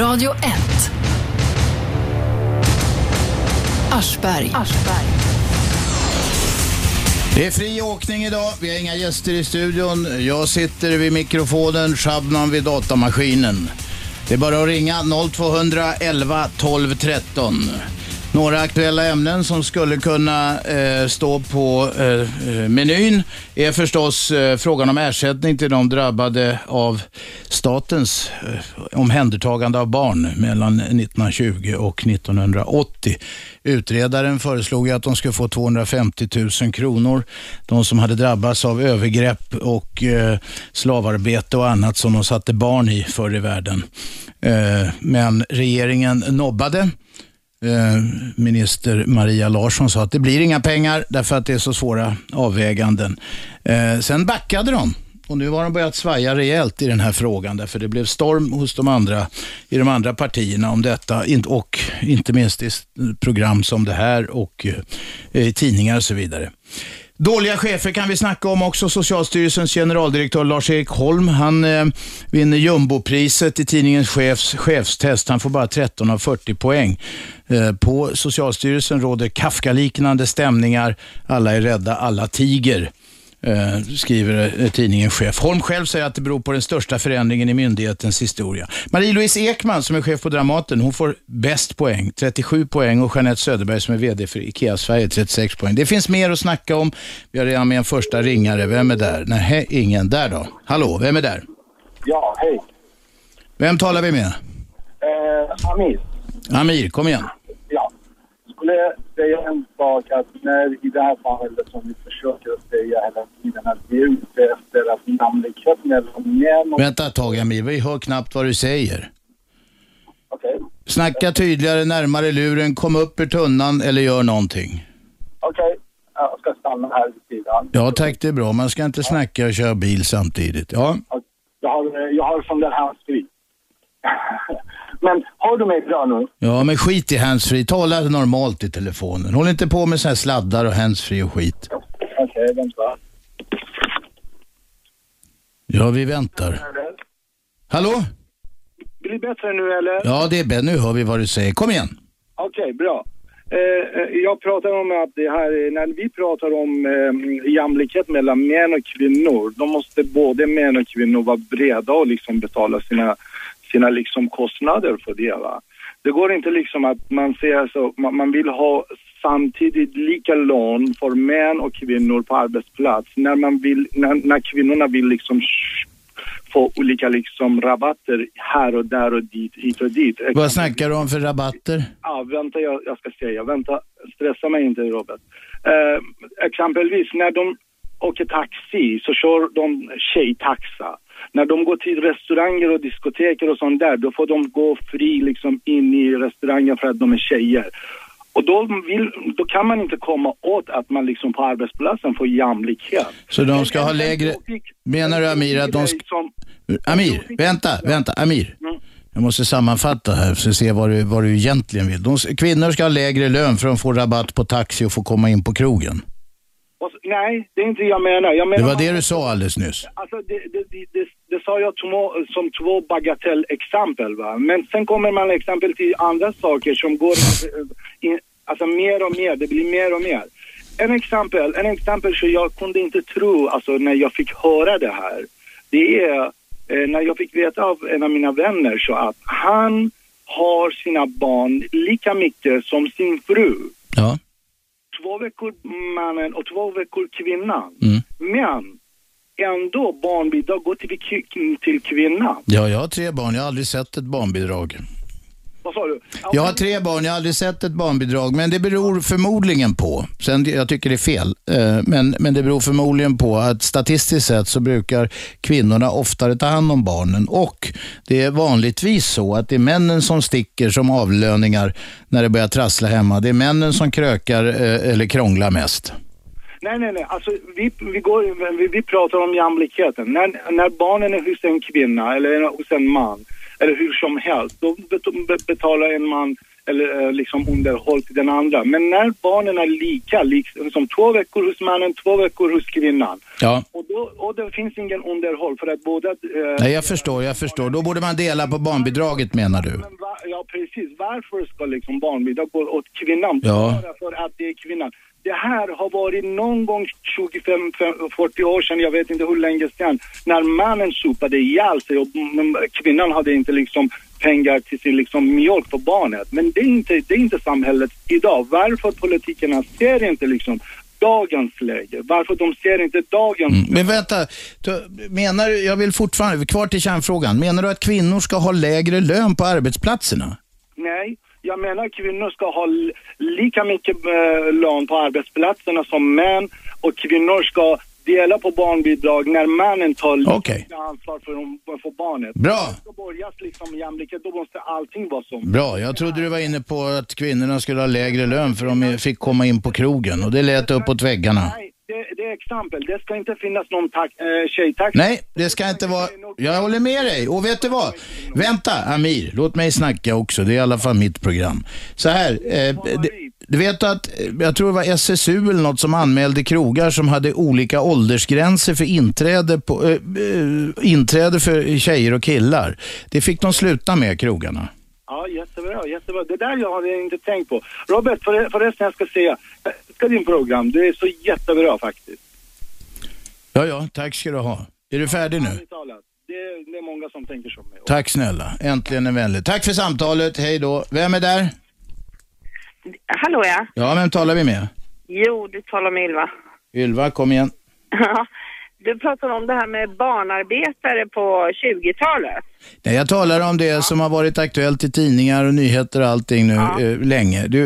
Radio 1. Aschberg. Det är fri åkning idag. Vi har inga gäster i studion. Jag sitter vid mikrofonen, Shabnam vid datamaskinen. Det är bara att ringa 0211 12 13. Några aktuella ämnen som skulle kunna eh, stå på eh, menyn är förstås eh, frågan om ersättning till de drabbade av statens eh, omhändertagande av barn mellan 1920 och 1980. Utredaren föreslog ju att de skulle få 250 000 kronor, de som hade drabbats av övergrepp och eh, slavarbete och annat som de satte barn i förr i världen. Eh, men regeringen nobbade. Eh, minister Maria Larsson sa att det blir inga pengar därför att det är så svåra avväganden. Eh, sen backade de och nu har de börjat svaja rejält i den här frågan därför det blev storm hos de andra, i de andra partierna om detta in- och inte minst i s- program som det här och eh, i tidningar och så vidare. Dåliga chefer kan vi snacka om också. Socialstyrelsens generaldirektör Lars-Erik Holm, han eh, vinner jumbopriset i tidningens chefs, chefstest. Han får bara 13 av 40 poäng. Eh, på Socialstyrelsen råder Kafka-liknande stämningar. Alla är rädda, alla tiger. Eh, skriver eh, tidningen Chef. Holm själv säger att det beror på den största förändringen i myndighetens historia. Marie-Louise Ekman som är chef på Dramaten, hon får bäst poäng, 37 poäng och Jeanette Söderberg som är VD för IKEA Sverige, 36 poäng. Det finns mer att snacka om. Vi har redan med en första ringare. Vem är där? Nej, ingen. Där då. Hallå, vem är där? Ja, hej. Vem talar vi med? Eh, Amir, Amir, kom igen. ja. Skulle säga en sak att när i det här fallet som vi försöker att säga hela tiden att vi är ute efter att namnlikhet mellan män och... Vänta ett tag Amir, vi hör knappt vad du säger. Okej, Snacka tydligare, närmare luren, kom upp ur tunnan eller gör någonting. okej. Jag ska stanna här vid sidan. Ja tack, det är bra. Man ska inte snacka och köra bil samtidigt. Ja. Jag har, jag har som den handskrig. Men har du mig bra nu? Ja, men skit i handsfree. Tala normalt i telefonen. Håll inte på med såna här sladdar och handsfree och skit. Okej, vänta. Ja, vi väntar. Hallå? Blir det bättre nu eller? Ja, det är Ben. Nu hör vi vad du säger. Kom igen. Okej, bra. Eh, eh, jag pratar om att det här, eh, när vi pratar om eh, jämlikhet mellan män och kvinnor, då måste både män och kvinnor vara breda och liksom betala sina, sina liksom kostnader för det. Va? Det går inte liksom att man säger så, man, man vill ha samtidigt lika lön för män och kvinnor på arbetsplats när, man vill, när, när kvinnorna vill liksom sh- få olika liksom rabatter här och där och dit, hit och dit. Vad snackar du om för rabatter? Ja, vänta, jag, jag ska säga. Vänta, stressa mig inte Robert. Eh, exempelvis när de åker taxi så kör de tjejtaxa. När de går till restauranger och diskoteker och sånt där, då får de gå fri liksom in i restaurangen för att de är tjejer. Och då, vill, då kan man inte komma åt att man liksom på arbetsplatsen får jämlikhet. Så de ska ha lägre... Menar du Amir att de ska... Som, Amir, vänta, vänta, Amir. Jag måste sammanfatta här för att se vad du, vad du egentligen vill. De, kvinnor ska ha lägre lön för att de får rabatt på taxi och får komma in på krogen. och, så- nej, det är inte jag menar. Jag menar Det var det du sa alldeles nyss. Alltså det, det, det, det, det sa jag två, som två bagatellexempel. Va? Men sen kommer man exempel till andra saker som går eh, in, alltså mer och mer, det blir mer och mer. En exempel, en exempel som jag kunde inte tro alltså, när jag fick höra det här. Det är eh, när jag fick veta av en av mina vänner så att han har sina barn lika mycket som sin fru. Ja. Två veckor mannen och två veckor kvinnan. Mm. Men ändå barnbidrag går till, ki- till kvinnan. ja, jag har tre barn. Jag har aldrig sett ett barnbidrag. Vad sa du? Ja, Jag har tre barn, jag har aldrig sett ett barnbidrag, men det beror förmodligen på, sen jag tycker det är fel, eh, men, men det beror förmodligen på att statistiskt sett så brukar kvinnorna oftare ta hand om barnen och det är vanligtvis så att det är männen som sticker som avlöningar när det börjar trassla hemma. Det är männen som krökar eh, eller krånglar mest. Nej, nej, nej. Alltså, vi, vi, går, vi, vi pratar om jämlikheten. När, när barnen är hos en kvinna eller hos en man, eller hur som helst. Då bet- be- betalar en man eller eh, liksom underhåll till den andra. Men när barnen är lika, liksom som två veckor hos mannen, två veckor hos kvinnan. Ja. Och, då, och det finns ingen underhåll för att båda... eh, Nej, jag förstår, jag förstår. Då borde man dela på barnbidraget menar du? Men va, ja, precis. Varför ska liksom barnbidrag gå åt kvinnan? Ja. Bara för att det är kvinnan. Det här har varit någon gång 25, 40 år sedan, jag vet inte hur länge sedan, när mannen sopade ihjäl sig och mm, kvinnan hade inte liksom pengar till sin liksom mjölk för barnet. Men det är inte, det är inte samhället idag. Varför politikerna ser inte liksom dagens läge? Varför de ser inte dagens... Men vänta, du- menar du, jag vill fortfarande, kvar till kärnfrågan. Menar du att kvinnor ska ha lägre lön på arbetsplatserna? Nej, jag menar kvinnor ska ha l- lika mycket eh, lön på arbetsplatserna som män och kvinnor ska dela på barnbidrag när männen tar lika Okej. mycket ansvar för, för barnet. Bra. Då börjas liksom jämlikhet, då måste allting vara som. Bra, jag trodde du var inne på att kvinnorna skulle ha lägre lön för de fick komma in på krogen och det lät uppåt väggarna. Nej, det, det är exempel. Det ska inte finnas någon tax, eh, tjejtaxa. Nej, det ska inte vara... Jag håller med dig. Och vet du vad? Vänta, Amir. Låt mig snacka också. Det är i alla fall mitt program. Så här. Eh, det- du vet att, eh, jag tror det var SSU eller något som anmälde krogar som hade olika åldersgränser för inträde, på, eh, eh, inträde för tjejer och killar. Det fick de sluta med, krogarna. Ja, jättebra, jättebra. Det där jag hade inte tänkt på. Robert, förre- förresten jag ska säga, jag älskar din program. Det är så jättebra faktiskt. Ja, ja, tack ska du ha. Är du färdig nu? ärligt talat. Det, det är många som tänker som mig. Tack snälla. Äntligen en vänlig. Tack för samtalet. Hej då. Vem är där? Hallå ja. Ja, vem talar vi med? Jo, du talar med Ylva. Ylva, kom igen. Ja. Du pratar om det här med barnarbetare på 20-talet. Nej, jag talar om det som har varit aktuellt i tidningar och nyheter och allting nu eh, länge. Du,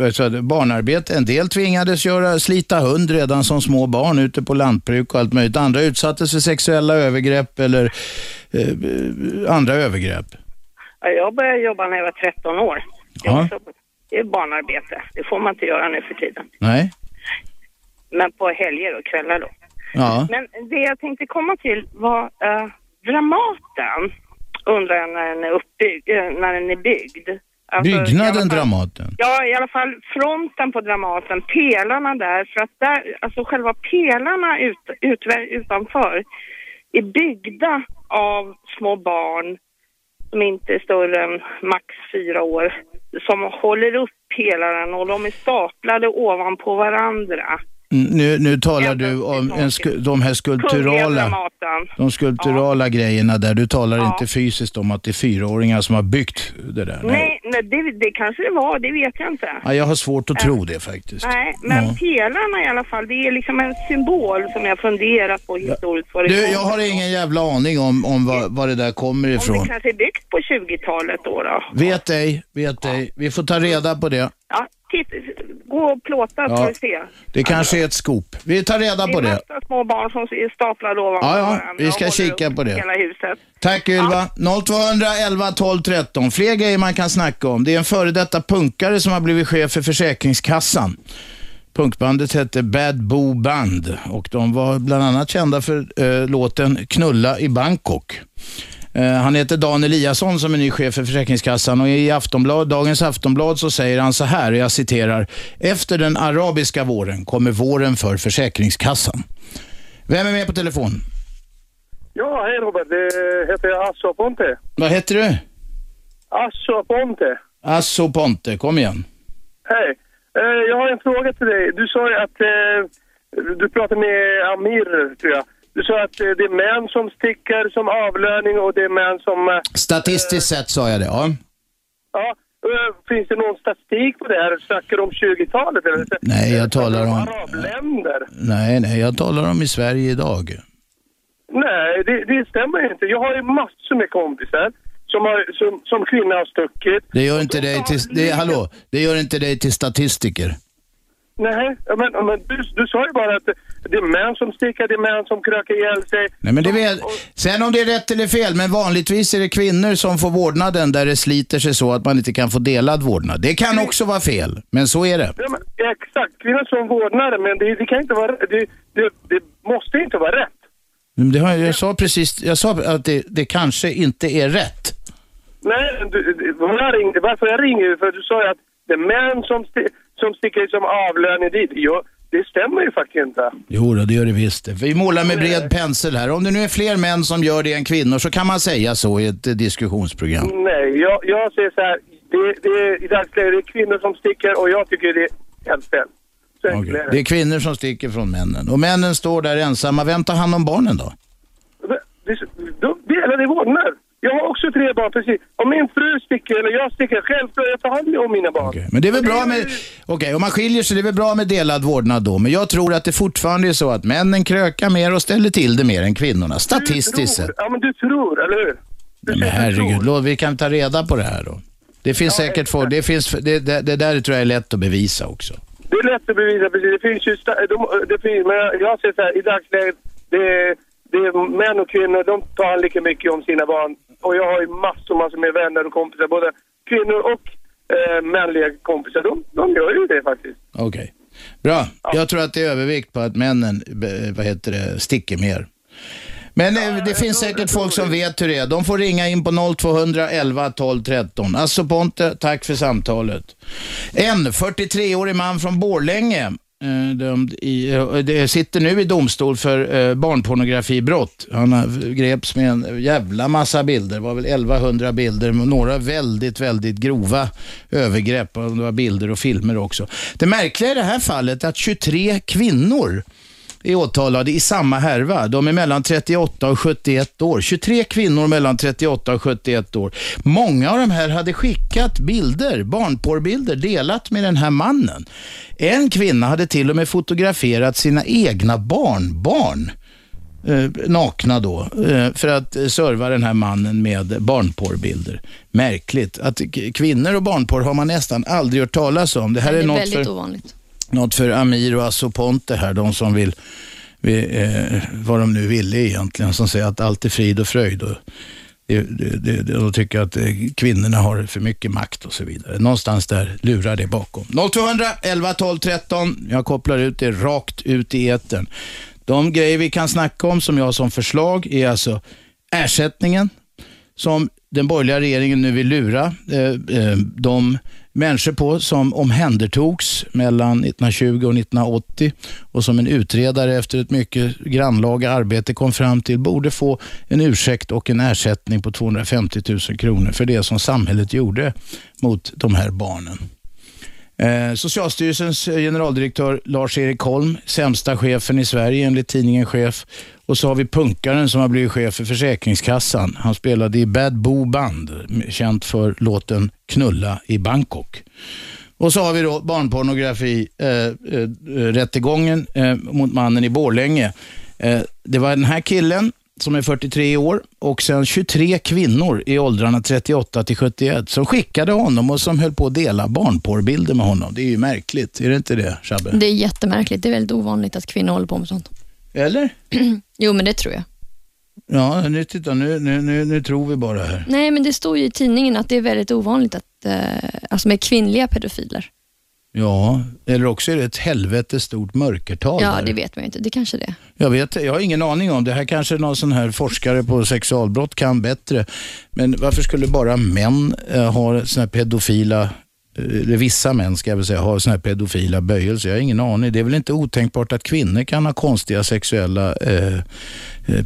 eh, alltså, barnarbete, en del tvingades göra, slita hund redan som små barn ute på lantbruk och allt möjligt. Andra utsattes för sexuella övergrepp eller eh, andra övergrepp. Ja, Jag började jobba när jag var 13 år. Ja. Det är barnarbete. Det får man inte göra nu för tiden. Nej. Men på helger och kvällar då. Ja. Men det jag tänkte komma till var eh, Dramaten. Undrar jag när den är uppbyggd, eh, när den är byggd. Alltså, i alla Byggnaden fall- Dramaten. Ja, i alla fall fronten på Dramaten, pelarna där, för att där, alltså själva pelarna ut, ut, utanför är byggda av små barn som inte är större än max fyra år, som håller upp pelaren och de är staplade ovanpå varandra. Mm, Nu, nu talar du om en sku, de Kungliga här skulpturala, Dramaten. de skulpturala grejerna där. Du talar inte fysiskt om att det är fyraåringar som har byggt det där. Nej, nej det, det kanske det var, det vet jag inte. Ja, jag har svårt att tro det faktiskt. Nej, men Ja. pelarna i alla fall, det är liksom en symbol som jag funderat på historiskt. var det Du, kommer jag har ifrån. ingen jävla aning om, om var, var det där kommer Om ifrån. det kanske är byggt på 20-talet då. då. Vet ej, vet ej. Vi får ta reda på det. Ja, titt, gå och plåta så Ja. får du se. Det kanske är ett skop. Vi tar reda Det på är det. massa små barn som är staplade ovanpå Ja, ja, varandra vi ska och håller kika upp på det. Hela huset. Tack Ylva. 0211 12 13. Fler grejer man kan snacka om. Det är en före detta punkare som har blivit chef för Försäkringskassan. Punkbandet hette Bad Boo Band och de var bland annat kända för eh, låten Knulla i Bangkok. Eh, han heter Dan Eliasson som är ny chef för Försäkringskassan och i Aftonblad, dagens Aftonblad så säger han så här, och jag citerar. Efter den arabiska våren kommer våren för Försäkringskassan. Vem är med på telefon? Ja, hej Robert. Det heter jag Asso Ponte. Vad heter du? Asso Ponte. Asso Ponte, kom igen. Hej. Eh, jag har en fråga till dig. Du sa ju att... eh, du pratade med Amir, tror jag. Du sa att eh, det är män som sticker som avlöning och det är män som... eh, Statistiskt sett sa jag det, ja. ja, eh, finns det någon statistik på det här? Snackar du om 20-talet eller? Nej, jag talar om... Arabländer? Nej, nej, jag talar om i Sverige idag. Nej, det, det stämmer inte. Jag har ju massor med kompisar som, har, som, som kvinna har stuckit. Det gör inte dig till... Det, hallå, det gör inte dig till statistiker. Nej, men, men du, du sa ju bara att det är män som stickar, det är män som krökar ihjäl sig. Nej, men det vet... Sen om det är rätt eller fel, men vanligtvis är det kvinnor som får vårdnaden där det sliter sig så att man inte kan få delad vårdnad. Det kan också vara fel, men så är det. Ja, men, exakt, kvinnor som vårdnader, men det, det kan inte vara det, det, det måste inte vara rätt. Men Det har, jag sa precis... Jag sa att det, det kanske inte är rätt. Nej, men du, du- vad jag ringde, varför jag ringer är för att du sa ju att det är män som, sti, som sticker som avlöning dit. Jo, det stämmer ju faktiskt inte. Jo då, det gör det visst. Vi målar med bred pensel här. Om det nu är fler män som gör det än kvinnor så kan man säga så i ett eh, diskussionsprogram. Nej, jag, jag säger så här. Det, det är i dagsläget det är kvinnor som sticker och jag tycker det är helt fel. Så enkelt är Det är kvinnor som sticker från männen. Och männen står där ensamma. Vem tar hand om barnen då? det, då delar vi vårdnad. Jag har också tre barn, precis. Om min fru sticker eller jag sticker, självklart jag tar hand om mina barn. Men det är väl bra med... Okej, om man skiljer sig, det är väl bra med delad vårdnad då. Men jag tror att det fortfarande är så att männen krökar mer och ställer till det mer än kvinnorna. Statistiskt sett. Ja, men du tror, eller hur? Nej, men herregud, låt, vi kan ta reda på det här då. Det finns säkert folk, det, finns, det, det, det där tror jag är lätt att bevisa också. Det är lätt att bevisa, precis. Det finns ju... sta- De, det finns, men jag- jag säger så här, i dagsläget, det, är- det är män och kvinnor, de tar hand lika mycket om sina barn. Och jag har ju massor, massor med vänner och kompisar, både kvinnor och eh, manliga kompisar. De, de gör ju det faktiskt. Okej. Bra. Jag tror att det är övervikt på att männen eh, vad heter det, sticker mer. Men eh, det finns säkert folk som vet hur det är. De får ringa in på 0211 12 13. Alltså Ponte, tack för samtalet. En 43-årig man från Borlänge eh, dömd i, eh, det sitter nu i domstol för eh, barnpornografibrott. Han har- greps med en jävla massa bilder. Det var väl 1100 bilder, men några väldigt, väldigt grova övergrepp. Och Det var bilder och filmer också. Det märkliga i det här fallet är att 23 kvinnor är åtalade i samma härva. De är mellan 38 och 71 år. 23 kvinnor mellan 38 och 71 år. Många av de här hade skickat bilder, barnporrbilder, delat med den här mannen. En kvinna hade till och med fotograferat sina egna barnbarn eh, nakna då, eh, för att eh, serva den här mannen med barnporrbilder. Märkligt att k- kvinnor och barnporr har man nästan aldrig hört talas om. Det här Det är, är något väldigt för ovanligt. något för Amir och Asso Ponte här, de som vill, vill eh, vad de nu ville egentligen, som säger att allt är frid och fröjd. Och, det, det, det, det- de tycker att eh, kvinnorna har för mycket makt och så vidare. Någonstans där lurar det bakom. 0200 11 12 13. Jag kopplar ut det rakt ut i etern. De grejer vi kan snacka om som jag har som förslag är alltså ersättningen som den borgerliga regeringen nu vill lura eh, eh, de människor på som omhändertogs mellan 1920 och 1980 och som en utredare efter ett mycket grannlaga arbete kom fram till borde få en ursäkt och en ersättning på 250 000 kronor för det som samhället gjorde mot de här barnen. Eh, Socialstyrelsens eh, generaldirektör Lars-Erik Holm, sämsta chefen i Sverige enligt tidningen Chef. Och så har vi punkaren som har blivit chef för Försäkringskassan. Han spelade i Bad Boo Band, m- känt för låten Knulla i Bangkok. Och så har vi då barnpornografi-rättegången eh, mot mannen i Borlänge. Eh, det var den här killen som är 43 år och sen 23 kvinnor i åldrarna 38 till 71 som skickade honom och som höll på att dela barnporrbilder med honom. Det är ju märkligt, är det inte det Shabbe? Det är jättemärkligt. Det är väldigt ovanligt att kvinnor håller på med sånt. Eller? Jo, men det tror jag. Ja, nu, titta, nu, nu, nu, nu tror vi bara här. Nej, men det står ju i tidningen att det är väldigt ovanligt att, eh, alltså med kvinnliga pedofiler. Ja, eller också är det ett helvete stort mörkertal. Ja, där. det vet man ju inte. Det kanske det är. Jag vet jag har ingen aning om det. här kanske någon sån här forskare på sexualbrott kan bättre. Men varför skulle bara män eh, ha såna här pedofila, eh, eller vissa män ska jag väl säga, ha såna här pedofila böjelser? Jag har ingen aning. Det är väl inte otänkbart att kvinnor kan ha konstiga sexuella eh, eh,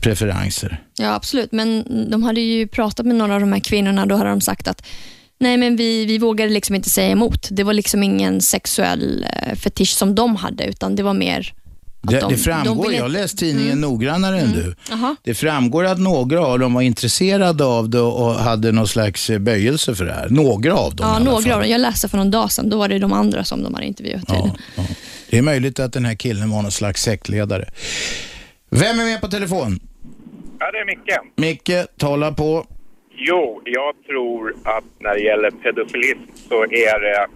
preferenser? Ja, absolut. Men de hade ju pratat med några av de här kvinnorna. Då hade de sagt att nej, men vi, vi vågade liksom inte säga emot. Det var liksom ingen sexuell eh, fetisch som de hade, utan det var mer att Det, de, det framgår, ville- jag har läst tidningen noggrannare än du. Jaha. Det framgår att några av dem var intresserade av det och hade någon slags eh, böjelse för det här. Några av dem i Ja, alla fall. några av dem. Jag läste för någon dag sedan. Då var det de andra som de hade intervjuat. Ja, tydligen. ja. Det är möjligt att den här killen var någon slags sektledare. Vem är med på telefon? Ja, det är Micke. Micke, tala på. Jo, jag tror att när det gäller pedofilism så är det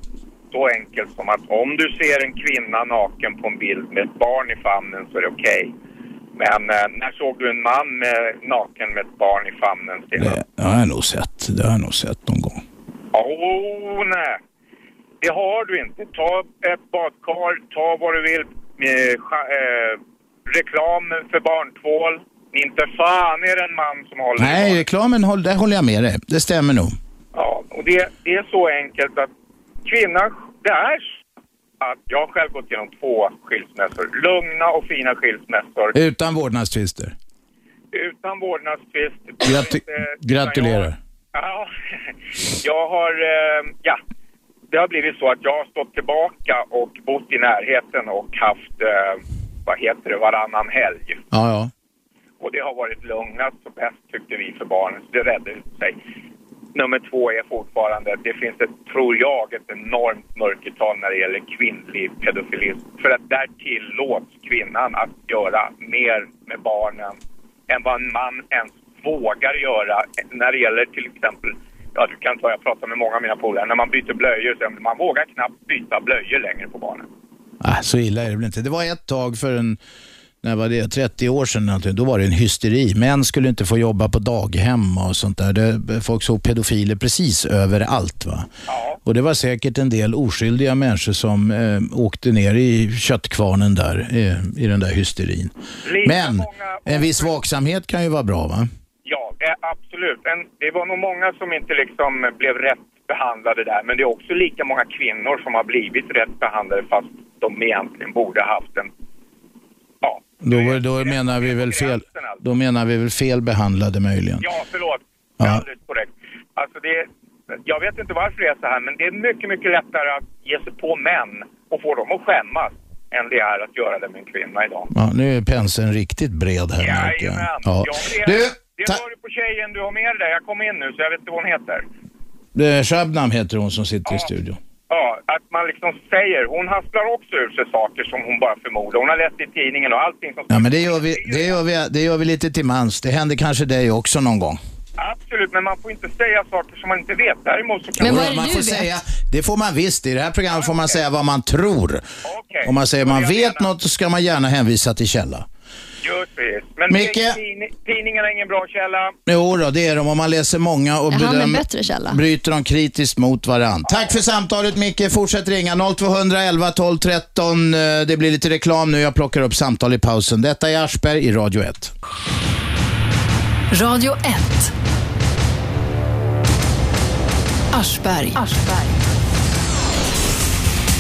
så enkelt som att om du ser en kvinna naken på en bild med ett barn i famnen så är det okej. Men eh, när såg du en man eh, naken med ett barn i famnen senast? Det har jag nog sett. Det har jag nog sett någon gång. Åh, nej! Det har du inte. Ta ett badkar, ta vad du vill. Eh, scha- eh, reklam för barntvål. Inte fan är det en man som håller i Nej, reklamen, håll, där håller jag med dig. Det stämmer nog. Och det, det är så enkelt att kvinnan, det är så att jag har själv gått igenom två skilsmässor. Lugna och fina skilsmässor Utan vårdnadstvister. utan vårdnadstvist. Gratu- gratulerar. Ja, jag har, eh, ja, det har blivit så att jag har stått tillbaka och bott i närheten och haft, eh, vad heter det, varannan helg. Ja, ja. Och det har varit lugnast och bäst tyckte vi för barnen, så det räddade sig. Nummer två är fortfarande, det finns ett, tror jag, ett enormt mörkertal när det gäller kvinnlig pedofilism. För att där tillåts kvinnan att göra mer med barnen än vad en man ens vågar göra. När det gäller till exempel, ja du kan ta, jag pratar med många av mina polare, när man byter blöjor, så man vågar knappt byta blöjor längre på barnen. Ah, så illa är det väl inte. Det var ett tag för en, när var det, 30 år sedan eller någonting, då var det en hysteri. Män skulle inte få jobba på daghem och sånt där. Det, folk såg pedofiler precis överallt. Va? Och det var säkert en del oskyldiga människor som eh, åkte ner i köttkvarnen där, eh, i den där hysterin. Lika Men många- en viss vaksamhet kan ju vara bra va? Ja, eh, absolut. En, det var nog många som inte liksom blev rätt behandlade där. Men det är också lika många kvinnor som har blivit rätt behandlade fast de egentligen borde haft en... Ja, Då, då, menar vi väl fel, då menar vi väl fel behandlade möjligen. ja förlåt. Ja. Det är alldeles korrekt. Alltså det, är- jag vet inte varför det är så här, men det är mycket, mycket lättare att ge sig på män och få dem att skämmas än det är att göra det med en kvinna idag. Ja, nu är penseln riktigt bred här märker jag. Jajamän. Ja. Ja, det, Du, det ta- hör du på tjejen du har med dig där. Jag kom in nu så jag vet inte vad hon heter. Eh, Shabnam heter hon som sitter i studion. Ja, att man liksom säger. Hon hasplar också ur sig saker som hon bara förmodar. Hon har läst i tidningen och allting som... Ja, men det gör, vi, det, gör vi, det gör vi lite till mans. Det händer kanske dig också någon gång. Absolut, men man får inte säga saker som man inte vet. Däremot så kan Men man... vad är det man du får vet? säga, det får man visst. I det här programmet får man säga vad man tror. Okej. Om man säger man Jag vet menar- något så ska man gärna hänvisa till källa. Just det. Men Micke? tidning- tidningen är ingen bra källa. Jo då, det är de. Om man läser många och Jaha, men bedömer, bättre källa. bryter de kritiskt mot varandra. Tack för samtalet Micke. Fortsätt ringa 0211 12 13. Eh, Det blir lite reklam nu. Jag plockar upp samtal i pausen. Detta är Aschberg i Radio 1. Radio 1. Aschberg.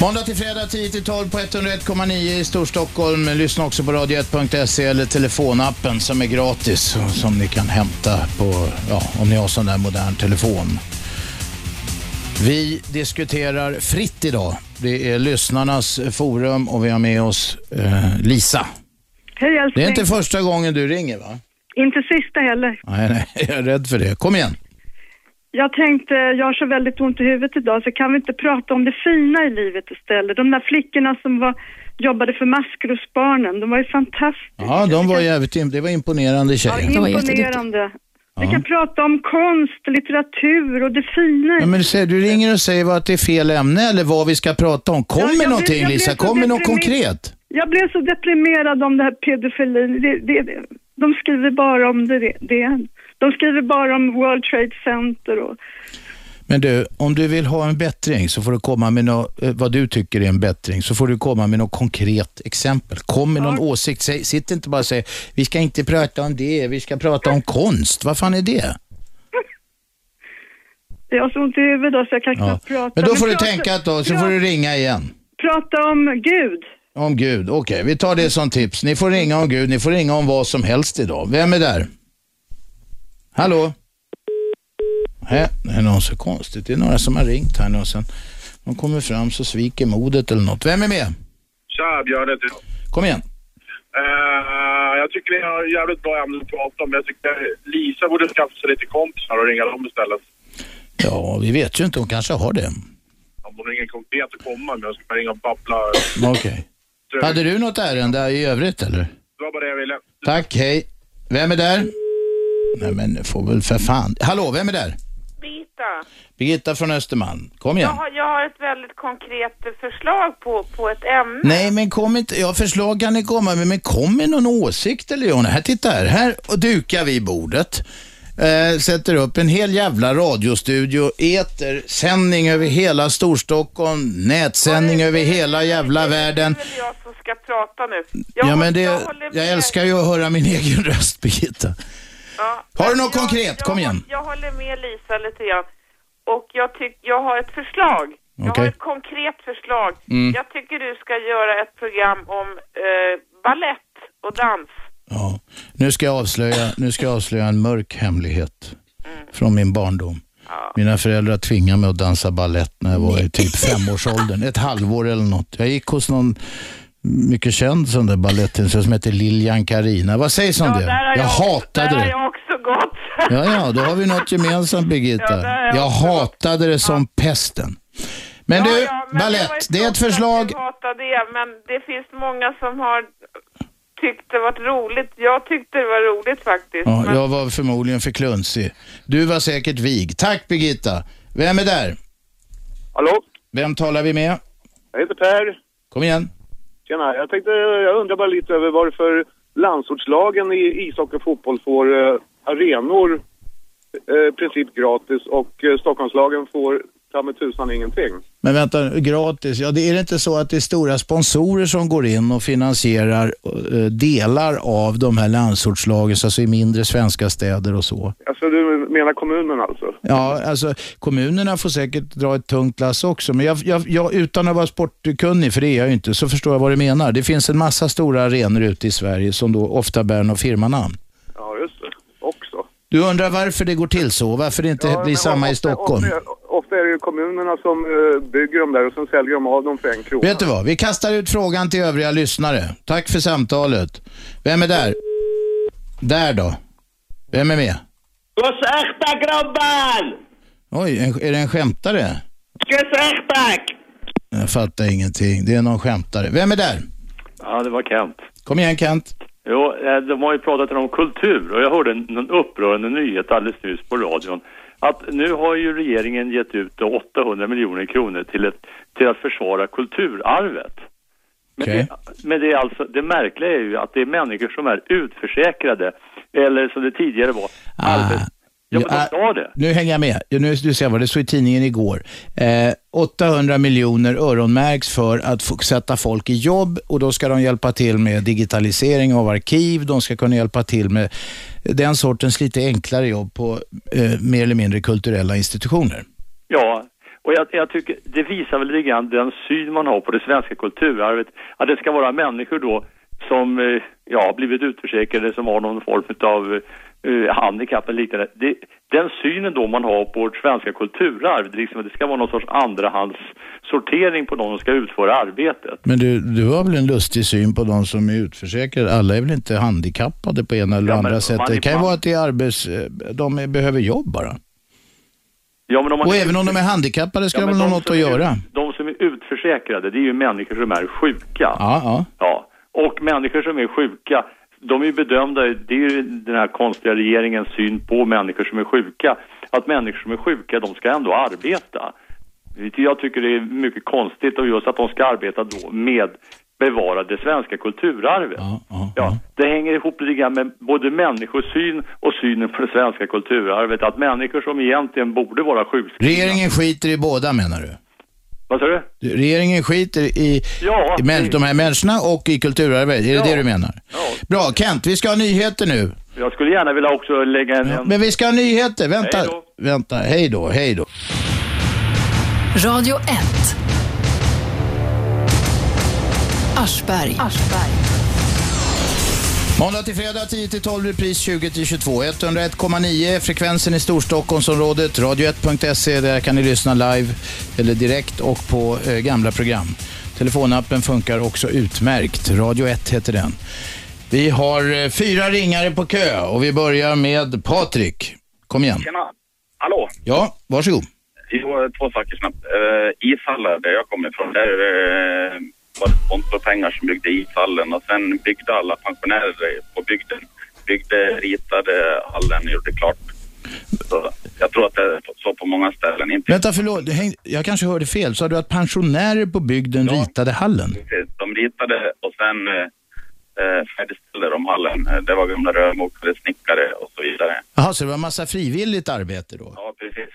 Måndag till fredag 10-12 på 101,9 i Storstockholm. Lyssna också på radio1.se eller telefonappen som är gratis och som ni kan hämta på, ja, om ni har sån där modern telefon. Vi diskuterar fritt idag. Det är lyssnarnas forum och vi har med oss eh, Lisa. Hej Det älskling. är inte första gången du ringer va? inte sista heller. Nej, nej, jag är rädd för det. Kom igen. Jag tänkte, jag har så väldigt ont i huvudet idag så kan vi inte prata om det fina i livet istället? De där flickorna som var, jobbade för Maskrosbarnen, de var ju fantastiska. Ja, de var jävligt, im- det var imponerande Ja, tjejer. var imponerande. Vi kan prata om konst, litteratur och det fina i Ja, men du, säger, du ringer och säger vad att det är fel ämne eller vad vi ska prata om. Kom Ja, jag med blir- någonting jag blir Lisa, så kom med något deprimerad. konkret. Jag blev så deprimerad om det här pedofilin. Det, det, det- de skriver bara om det, det. De skriver bara om World Trade Center och... Men du, om du vill ha en bättring så får du komma med något, eh, vad du tycker är en bättring, så får du komma med något konkret exempel. Kom med någon åsikt, Säg, sitt inte bara och säg, vi ska inte prata om det, vi ska prata om konst. Vad fan är det? Jag har så ont i huvudet då, så jag kan Ja. knappt prata. Men då får du prata, tänka ett tag, så pra- får du ringa igen. Prata om Gud. Om Gud, okej, vi tar det som tips. Ni får ringa om Gud, ni får ringa om vad som helst idag. Vem är där? Hallå? Hä, det är någon så konstigt. Det är några som har ringt här nu och sen de kommer fram så sviker modet eller något. Vem är med? Tja, Björn heter jag. Kom igen. Eh, jag tycker ni har jävligt bra ämne att prata om. Jag tycker Lisa borde skaffa sig lite kompisar och ringa dem istället. Ja, vi vet ju inte. Hon kanske har det. Om hon har ingen konkret att komma med, jag ska bara ringa och babbla. Okej. Hade du något ärende i övrigt eller? Det var bara det jag ville. Tack, hej. Vem är där? Nej men det får väl för fan. Hallå, vem är där? Birgitta, Birgitta från Östermalm. jag Kom igen. har, jag har ett väldigt konkret eh, förslag på, på ett ämne. Nej, men kom inte. Ja, förslag kan ni komma med, men kom med någon åsikt eller Jonas. Här, titta här. Här och dukar vi bordet. Eh, sätter upp en hel jävla radiostudio, eter, sändning över hela Storstockholm, nätsändning över hela jävla världen. Det är väl jag som ska prata nu. Jag, Ja, men det, jag håller med. jag älskar ju att höra min egen röst, Birgitta. Ja, Har du men något konkret? Kom igen. Jag, jag håller med Lisa lite grann. Och jag, tyck, jag har ett förslag. Jag har Okej. ett konkret förslag. Mm. Jag tycker du ska göra ett program om eh, ballett och dans. Ja. Nu, ska jag avslöja, nu ska jag avslöja en mörk hemlighet från min barndom. Mina föräldrar tvingade mig att dansa ballett när jag var i typ femårsåldern. Ett halvår eller något. Jag gick hos någon mycket känd sån där balettinstruktör som heter Lilian Karina. Vad sägs om det? där har jag hatade där det. har jag också gått. Ja, ja, då har vi något gemensamt Ja, Birgitta. där är jag jag också. hatade det som pesten. Men Ja, du, ja, men ballett, var ju det är ett trist att förslag. du hatar det, men det finns många som har tyckt det varit roligt. Jag tyckte det var roligt faktiskt. Ja, men jag var förmodligen för klunsig. Du var säkert vig. Tack Birgitta. Vem är där? Hallå? Vem talar vi med? Jag heter Per. Kom igen. Tjena, jag tänkte, jag undrar bara lite över varför landsortslagen i ishockey och fotboll får eh, arenor eh, i princip gratis och eh, Stockholmslagen får ta med tusan ingenting. Men vänta, gratis. Ja, det är det inte så att det är stora sponsorer som går in och finansierar eh, delar av de här landsortslagen, så alltså i mindre svenska städer och så? Alltså du menar kommunen alltså? Ja, alltså kommunerna får säkert dra ett tungt lass också, men jag, jag, jag, utan att vara sportkunnig, för det är jag ju inte, så förstår jag vad du menar. Det finns en massa stora arenor ute i Sverige som då ofta bär något firmanamn. Ja, just det. Också. Du undrar varför det går till så, varför det inte Ja, blir men samma i ofta- Stockholm? Ofta, ofta är det ju kommunerna som eh, bygger dem där och sen säljer de av dem för en krona. Vet du vad, vi kastar ut frågan till övriga lyssnare. Tack för samtalet. Vem är där? Där då? Vem är med? Gå sakta grabbar! Oj, en, är det en skämtare? Gå sakta! Jag fattar ingenting. Det är någon skämtare. Vem är där? Ja, det var Kent. Kom igen Kent. Jo, eh, de har ju pratat om kultur och jag hörde en en upprörande nyhet alldeles nyss på radion. Att nu har ju regeringen gett ut då 800 miljoner kronor till, ett, till att försvara kulturarvet. Men, det, men det, är alltså, det märkliga är ju att det är människor som är utförsäkrade, eller som det tidigare var, arbets- Ja, men de sa det. Ah, Nu hänger jag med. Nu, du ser vad det stod i tidningen igår. Eh, 800 miljoner öronmärks för att få, sätta folk i jobb och då ska de hjälpa till med digitalisering av arkiv. De ska kunna hjälpa till med den sortens lite enklare jobb på eh, mer eller mindre kulturella institutioner. Ja, och jag, jag tycker det visar väl lite grann den syn man har på det svenska kulturarvet. Att det ska vara människor då som eh, ja, blivit utförsäkrade, som har någon form av eh, handikapp eller liknande. Det, den synen då man har på vårt svenska kulturarv, det, är liksom, att det ska vara någon sorts andrahandssortering på någon som ska utföra arbetet. Men du, du har väl en lustig syn på de som är utförsäkrade? Alla är väl inte handikappade på ena eller Ja, men andra sättet? man är Det kan ju fan- vara att det är arbets... eh, de är- behöver jobb bara. Ja, men om man- Och även om de är handikappade ska Ja, de men väl ha något som att är ut- göra? De som är utförsäkrade, det är ju människor som är sjuka. Ja, ja. Ja, och människor som är sjuka, de är ju bedömda, det är ju den här konstiga regeringens syn på människor som är sjuka, att människor som är sjuka, de ska ändå arbeta. Jag tycker det är mycket konstigt och just att de ska arbeta då med bevara det svenska kulturarvet. Ja, det hänger ihop lite grann med både människosyn och synen på det svenska kulturarvet. Att människor som egentligen borde vara sjukskrivna... Regeringen skiter i båda menar du? Vad sa du? Du, Regeringen skiter i, Ja, i män, de här människorna och i kulturarvet. Är det det du menar? Bra, Kent, vi ska ha nyheter nu. Jag skulle gärna vilja också lägga en... en... Men vi ska ha nyheter. Vänta, Hej då. vänta. Hej då, hej då. Radio 1. Aschberg. Måndag till fredag 10 till 12 repris 20 till 22. 101,9 frekvensen i Storstockholmsområdet. Radio1.se, E, där kan ni lyssna live eller direkt och på eh, gamla program. Telefonappen funkar också utmärkt. Radio 1 heter den. Vi har eh, fyra ringare på kö och vi börjar med Patrik. Kom igen. Tjena. Hallå. Ja, varsågod. Jo, två saker snabbt. Uh, ishallar, där jag kommer ifrån, där eh, var det sponsorpengar som byggde ishallen och sen byggde alla pensionärer på bygden. Byggde, ritade hallen och gjorde klart. Så jag tror att det är så på många ställen. Inte Vänta, förlåt. det häng- Jag kanske hörde fel. Sa du att pensionärer på bygden ritade hallen? precis. De ritade och sen eh, eh, färdigställde de hallen. Eh, Det var gamla rörmokare, snickare och så vidare. Jaha, så det var en massa frivilligt arbete då? Ja, precis.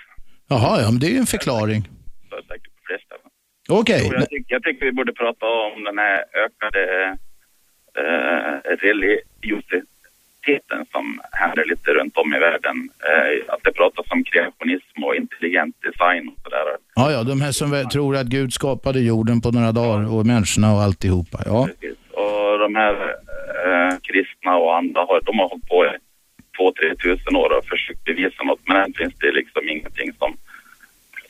Jaha, ja, men det är ju en förklaring. Så säkert på fler ställen. Okej. Jo, jag, tycker, jag tycker vi borde prata om den här ökade eh, religiositeten kreativiteten som händer lite runt om i världen. Eh, att det pratas om kreationism och intelligent design och sådär. Ja, ja, de här som vä- tror att Gud skapade jorden på några dagar och människorna och alltihopa. Ja, Och de här eh, kristna och andra, har, de har hållit på i två, tre tusen år och försökt bevisa något, men än finns det liksom ingenting som...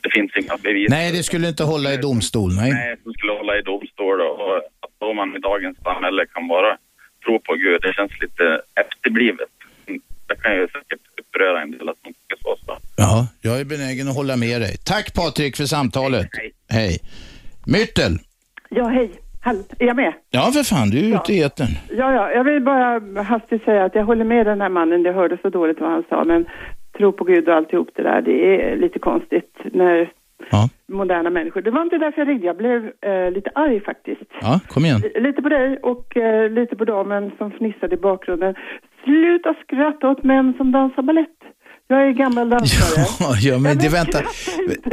Det finns inga bevis. nej, det skulle inte hålla i domstol, nej. Nej, som skulle hålla i domstol och och att då man i dagens samhälle kan bara tro på Gud, det känns lite efterblivet. Det kan ju säkert uppröra en del att man tycker så. så. Ja, jag är benägen att hålla med dig. Tack Patrik för samtalet. Hej. Myrtel. Ja, hej. Hall, är jag med? Ja, för fan, du är ute i etern. Ja, ja, jag vill bara hastigt säga att jag håller med den här mannen. Det hörde så dåligt vad han sa, men tro på Gud och alltihop det där, det är lite konstigt när moderna människor... Det var inte därför jag ringde, jag blev eh, lite arg faktiskt. Ja, kom igen. L- Lite på dig och eh, lite på damen som fnissade i bakgrunden. Sluta skratta åt män som dansar balett. Jag är gammal dansare. Ja, ja, men det väntar.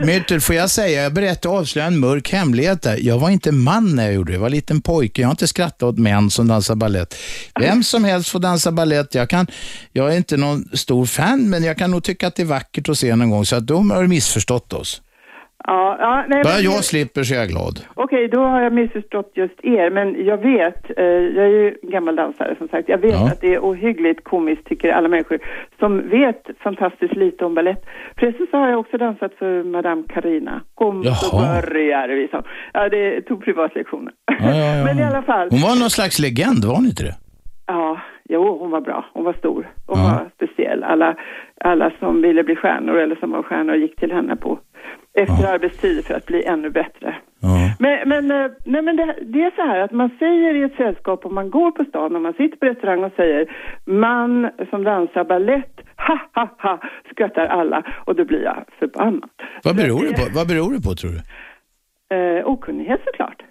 Myrtel, får jag säga, jag berättar avslöja en mörk hemlighet där. Jag var inte man när jag gjorde det, jag var en liten pojke. Jag har inte skrattat åt män som dansar ballett. Vem som helst får dansa ballett. Jag, kan, jag är inte någon stor fan, men jag kan nog tycka att det är vackert att se någon gång, så att de har missförstått oss. Ja, ja, nej, Bara men- jag slipper så är jag glad. Okej, då har jag missförstått just er, men jag vet, eh, jag är ju gammal dansare som sagt, jag vet Ja. att det är ohyggligt komiskt tycker alla människor som vet fantastiskt lite om ballett. Precis så har jag också dansat för Madame Carina. Kom så Jaha. börjar vi, sa hon. Ja, det tog privatlektioner. Ja, ja, ja. Men i alla fall, Hon var någon slags legend, var hon inte det? ja, jo, hon var bra, hon var stor, hon var speciell. Alla, alla som ville bli stjärnor eller som var stjärnor gick till henne på efter arbetstid för att bli ännu bättre. Men, men, eh, nej, men det, det är så här att man säger i ett sällskap om man går på stan och man sitter på restaurang och säger man som dansar ballett, ha ha ha, skrattar alla och då blir jag förbannad. Vad beror det på, vad beror det på tror du? Eh, okunnighet såklart.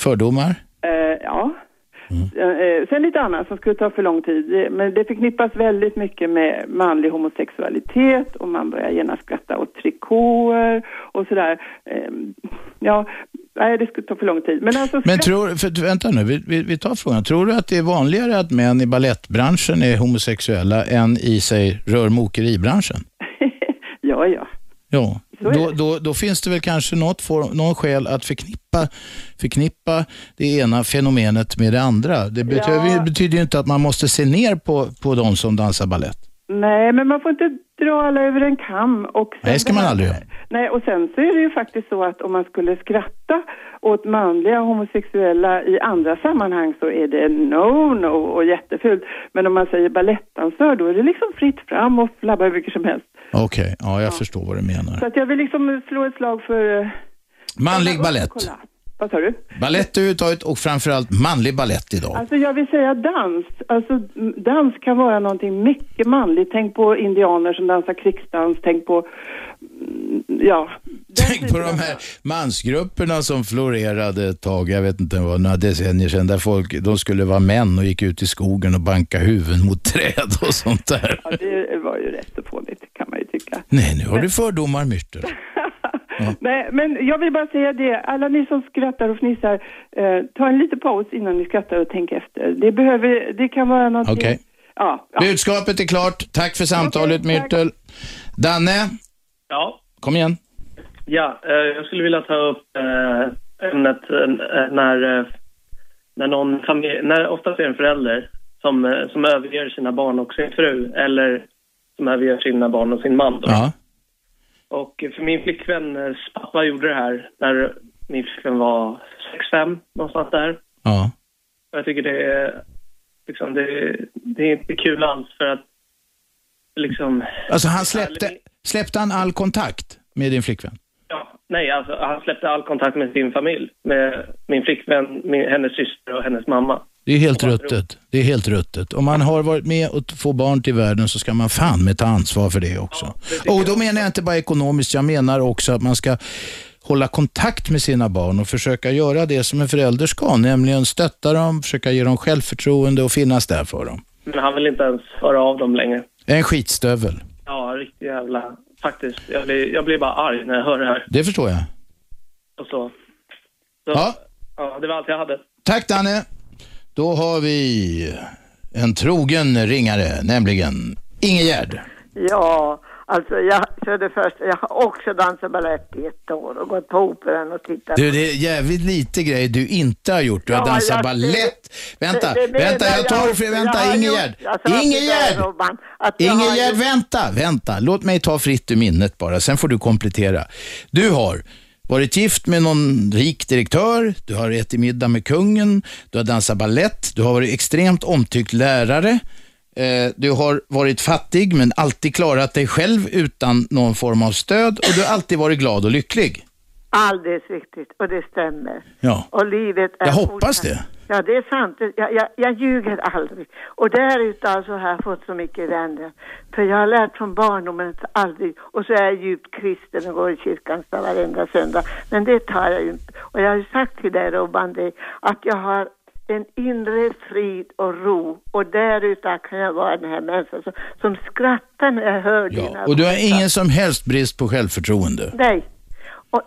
Fördomar? Eh, ja. Eh, eh, sen lite annat som skulle ta för lång tid, eh, men det förknippas väldigt mycket med manlig homosexualitet och man börjar genast skratta åt trikåer och sådär. Eh, ja, nej det skulle ta för lång tid. Men alltså Men tror, för, vänta nu, vi, vi, vi tar frågan. Tror du att det är vanligare att män i ballettbranschen är homosexuella än i, säg, rörmokeribranschen? Ja, ja. Ja, då, då, då finns det väl kanske något form, någon skäl att förknippa, förknippa det ena fenomenet med det andra. Det betyder, Ja. betyder ju inte att man måste se ner på, på de som dansar ballett. Nej, men man får inte dra alla över en kam. Och sen Nej, det ska man aldrig göra. Nej, och sen så är det ju faktiskt så att om man skulle skratta åt manliga homosexuella i andra sammanhang så är det no-no och jättefult. Men om man säger balettdansör då är det liksom fritt fram och flabba hur mycket som helst. Okej, ja, jag förstår vad du menar. Så att jag vill liksom slå ett slag för... eh, Manlig ballett. Kolla. Vad sa du? Ballett överhuvudtaget och framförallt manlig ballett idag. Alltså jag vill säga dans. Alltså m- dans kan vara någonting mycket manligt. Tänk på indianer som dansar krigsdans. Tänk på, mm, ja. Tänk på de här mansgrupperna som florerade ett tag, jag vet inte, det var några decennier sedan, där folk, de skulle vara män och gick ut i skogen och banka huvuden mot träd och sånt där. Ja, det var ju rätt så fånigt kan man ju tycka. Nej, nu har du fördomar, Myrtel. Nej, men jag vill bara säga det. Alla ni som skrattar och fnissar, eh, ta en liten paus innan ni skrattar och tänk efter. Det behöver, det kan vara någonting. Okej. Ja, Budskapet är klart. Tack för samtalet, Myrtel. Danne, Ja, kom igen. ja eh, jag skulle vilja ta upp eh, ämnet eh, när, eh, när någon familj, när oftast är det en förälder som, eh, som överger sina barn och sin fru eller som överger sina barn och sin man. Då. Ja. Och för min flickväns pappa gjorde det här när min flickvän var 6-5, någonstans där. Ja. Jag tycker det är, liksom, det, det är inte kul alls för att liksom... Alltså, han släppte, släppte han all kontakt med din flickvän? Nej, alltså, han släppte all kontakt med sin familj. Med min flickvän, min, hennes syster och hennes mamma. Det är helt ruttet. Det är helt ruttet. Om man har varit med och få barn till världen så ska man fan med ta ansvar för det också. och då menar jag inte bara ekonomiskt, jag menar också att man ska hålla kontakt med sina barn och försöka göra det som en förälder ska, nämligen stötta dem, försöka ge dem självförtroende och finnas där för dem. Men han vill inte ens höra av dem längre. En skitstövel, Ja, riktigt jävla... Faktiskt, jag blir, jag blir bara arg när jag hör det här. det förstår jag. Och så. så Ja. ja. Det var allt jag hade. Tack Danne. Då har vi En trogen ringare, nämligen Ingegärd. Ja, alltså jag, för det första, jag har också dansat balett i ett år och gått på operan och tittat. Du, det är jävligt lite grejer du inte har gjort. Du har Ja, dansat jag- balett. Vänta, Det- det menar vänta, jag tar det för, jag. vänta, Jag har Ingegärd. gjort- jag sa till Ingegärd! dig, Robban, att jag har Ingegärd, gjort- vänta, vänta. Låt mig ta fritt ur minnet bara, sen får du komplettera. Du har varit gift med någon rik direktör, du har ätit middag med kungen, du har dansat ballett, du har varit extremt omtyckt lärare, eh, du har varit fattig men alltid klarat dig själv utan någon form av stöd och du har alltid varit glad och lycklig. Alldeles riktigt, och det stämmer. Ja. Och livet är Jag hoppas det. Ja, det är sant. Jag, jag, jag ljuger aldrig. Och därutav så har jag fått så mycket vänner. För jag har lärt från barndomen att aldrig... Och så är jag djupt kristen och går i kyrkan så varenda söndag. Men det tar jag ju inte. Och jag har ju sagt till dig, Robban, det, att jag har en inre frid och ro. Och därutav kan jag vara den här människan som, som skrattar när jag hör dina Och du har ingen som helst brist på självförtroende. Nej. Och,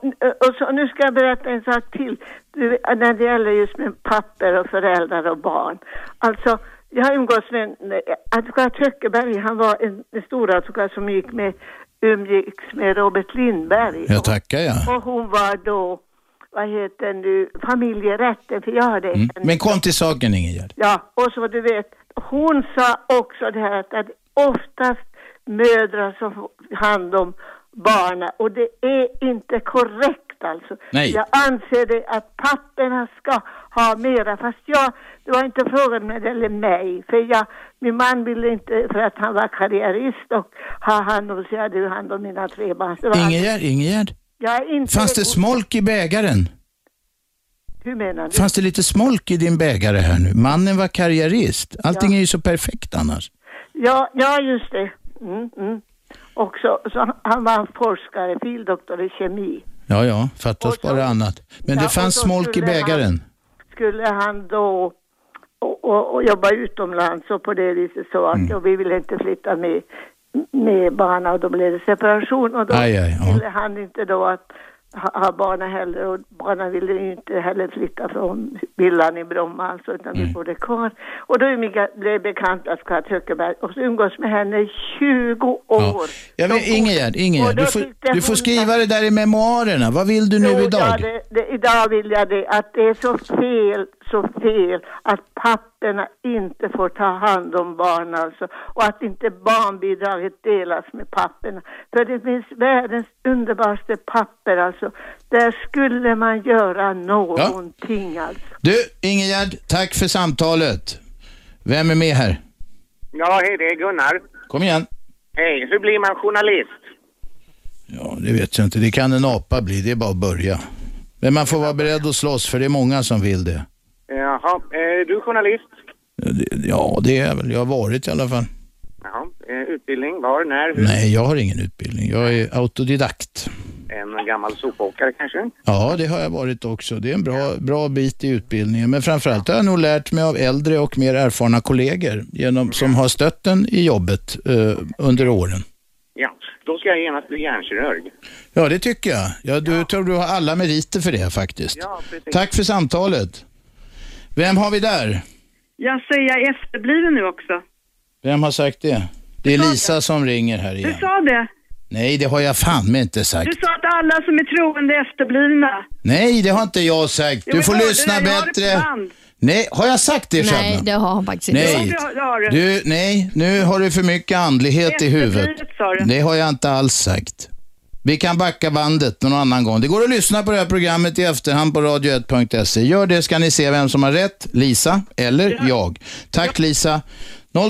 och så, nu ska jag berätta en sak till. Du, när det gäller just med papper och föräldrar och barn. Alltså, jag har umgåtts med en, eh, Advokat Höckeberg, han var en, en stor advokat som gick med, umgicks med Robert Lindberg. Jag tackar ja. Och hon var då, vad heter det nu, familjerätten, för jag hade Mm. en Men kom till saken Ingegärd. Ja, och så du vet, hon sa också det här att, att oftast mödrar som får hand om barnen och det är inte korrekt alltså. Nej. Jag anser det att papporna ska ha mera, fast jag, det var inte frågan med eller mig, för jag, min man ville inte, för att han var karriärist och ha hand om, så jag hade ju hand om mina tre barn. Så det var- Ingegärd, Ingegärd. Jag är inte... Fanns det smolk i bägaren? Hur menar du? Fanns det lite smolk i din bägare här nu? Mannen var karriärist. Allting är ju så perfekt annars. Ja, ja just det. Mm, mm. Och så, så han- han var en forskare, fildoktor i kemi. Ja, ja, fattas bara annat. Men Ja, det och fanns så smolk i skulle han- bägaren. Skulle han då och, och, och jobba utomlands och på det viset så att Mm. och vi ville inte flytta med, med barnen och då blev det separation och då Aj, aj, ja. ville han inte då att ha, ha barnen heller och barnen ville ju inte heller flytta från villan i Bromma alltså utan vi bodde kvar. Och då umgick- blev bekant att Kat Höckerberg och så umgås med henne i 20 år. Jag vet, Ingegärd, och Ingegärd, då du tyckte får, du får hon- skriva det där i memoarerna. Vad vill du Jo, nu Ja, idag? det, det, idag vill jag det, att det är så fel, så fel att papporna inte får ta hand om barn alltså. Och att inte barnbidraget delas med papporna. För det finns världens underbaraste papper alltså. Där skulle man göra någonting alltså. Du, Ingegärd, tack för samtalet. Vem är med här? Ja, hej det är Gunnar. Kom igen. Hej, hur blir man journalist? Ja, det vet jag inte. Det kan en apa bli. Det är bara att börja. Men man får vara beredd att slåss, för det är många som vill det. Jaha, eh, du är journalist? Ja, det är jag väl. Jag har varit i alla fall. Ja, eh, utbildning, var, när, hur? Nej, jag har ingen utbildning. Jag är autodidakt. En gammal sopåkare kanske? Ja, det har jag varit också. Det är en bra, bra bit i utbildningen. Men framförallt har jag nog lärt mig av äldre och mer erfarna kollegor genom, som har stött en i jobbet eh, under åren. Ja, då ska jag genast bli hjärnkirurg. Ja, det tycker jag. Ja, du tror du har alla meriter för det faktiskt. Ja, precis. Tack för samtalet. Vem har vi där? Jag säger jag är efterbliven nu också. Vem har sagt det? Det är Lisa som ringer här Du igen. sa det. Nej, det har jag fan med inte sagt. Du sa att alla som är troende är efterblivna. Nej, det har inte jag sagt. Jo, Du men får hörde lyssna det, jag har det på bättre. band. Nej, har jag sagt det Nej, Shabnam? det har han faktiskt inte. Nej. Ja, det har du. Du, nej, nu har du för mycket andlighet i huvudet. Efterblivet, sa du. Det har jag inte alls sagt. Vi kan backa bandet någon annan gång. Det går att lyssna på det här programmet i efterhand på radio1.se. Gör det ska ni se vem som har rätt, Lisa eller jag. Tack Lisa.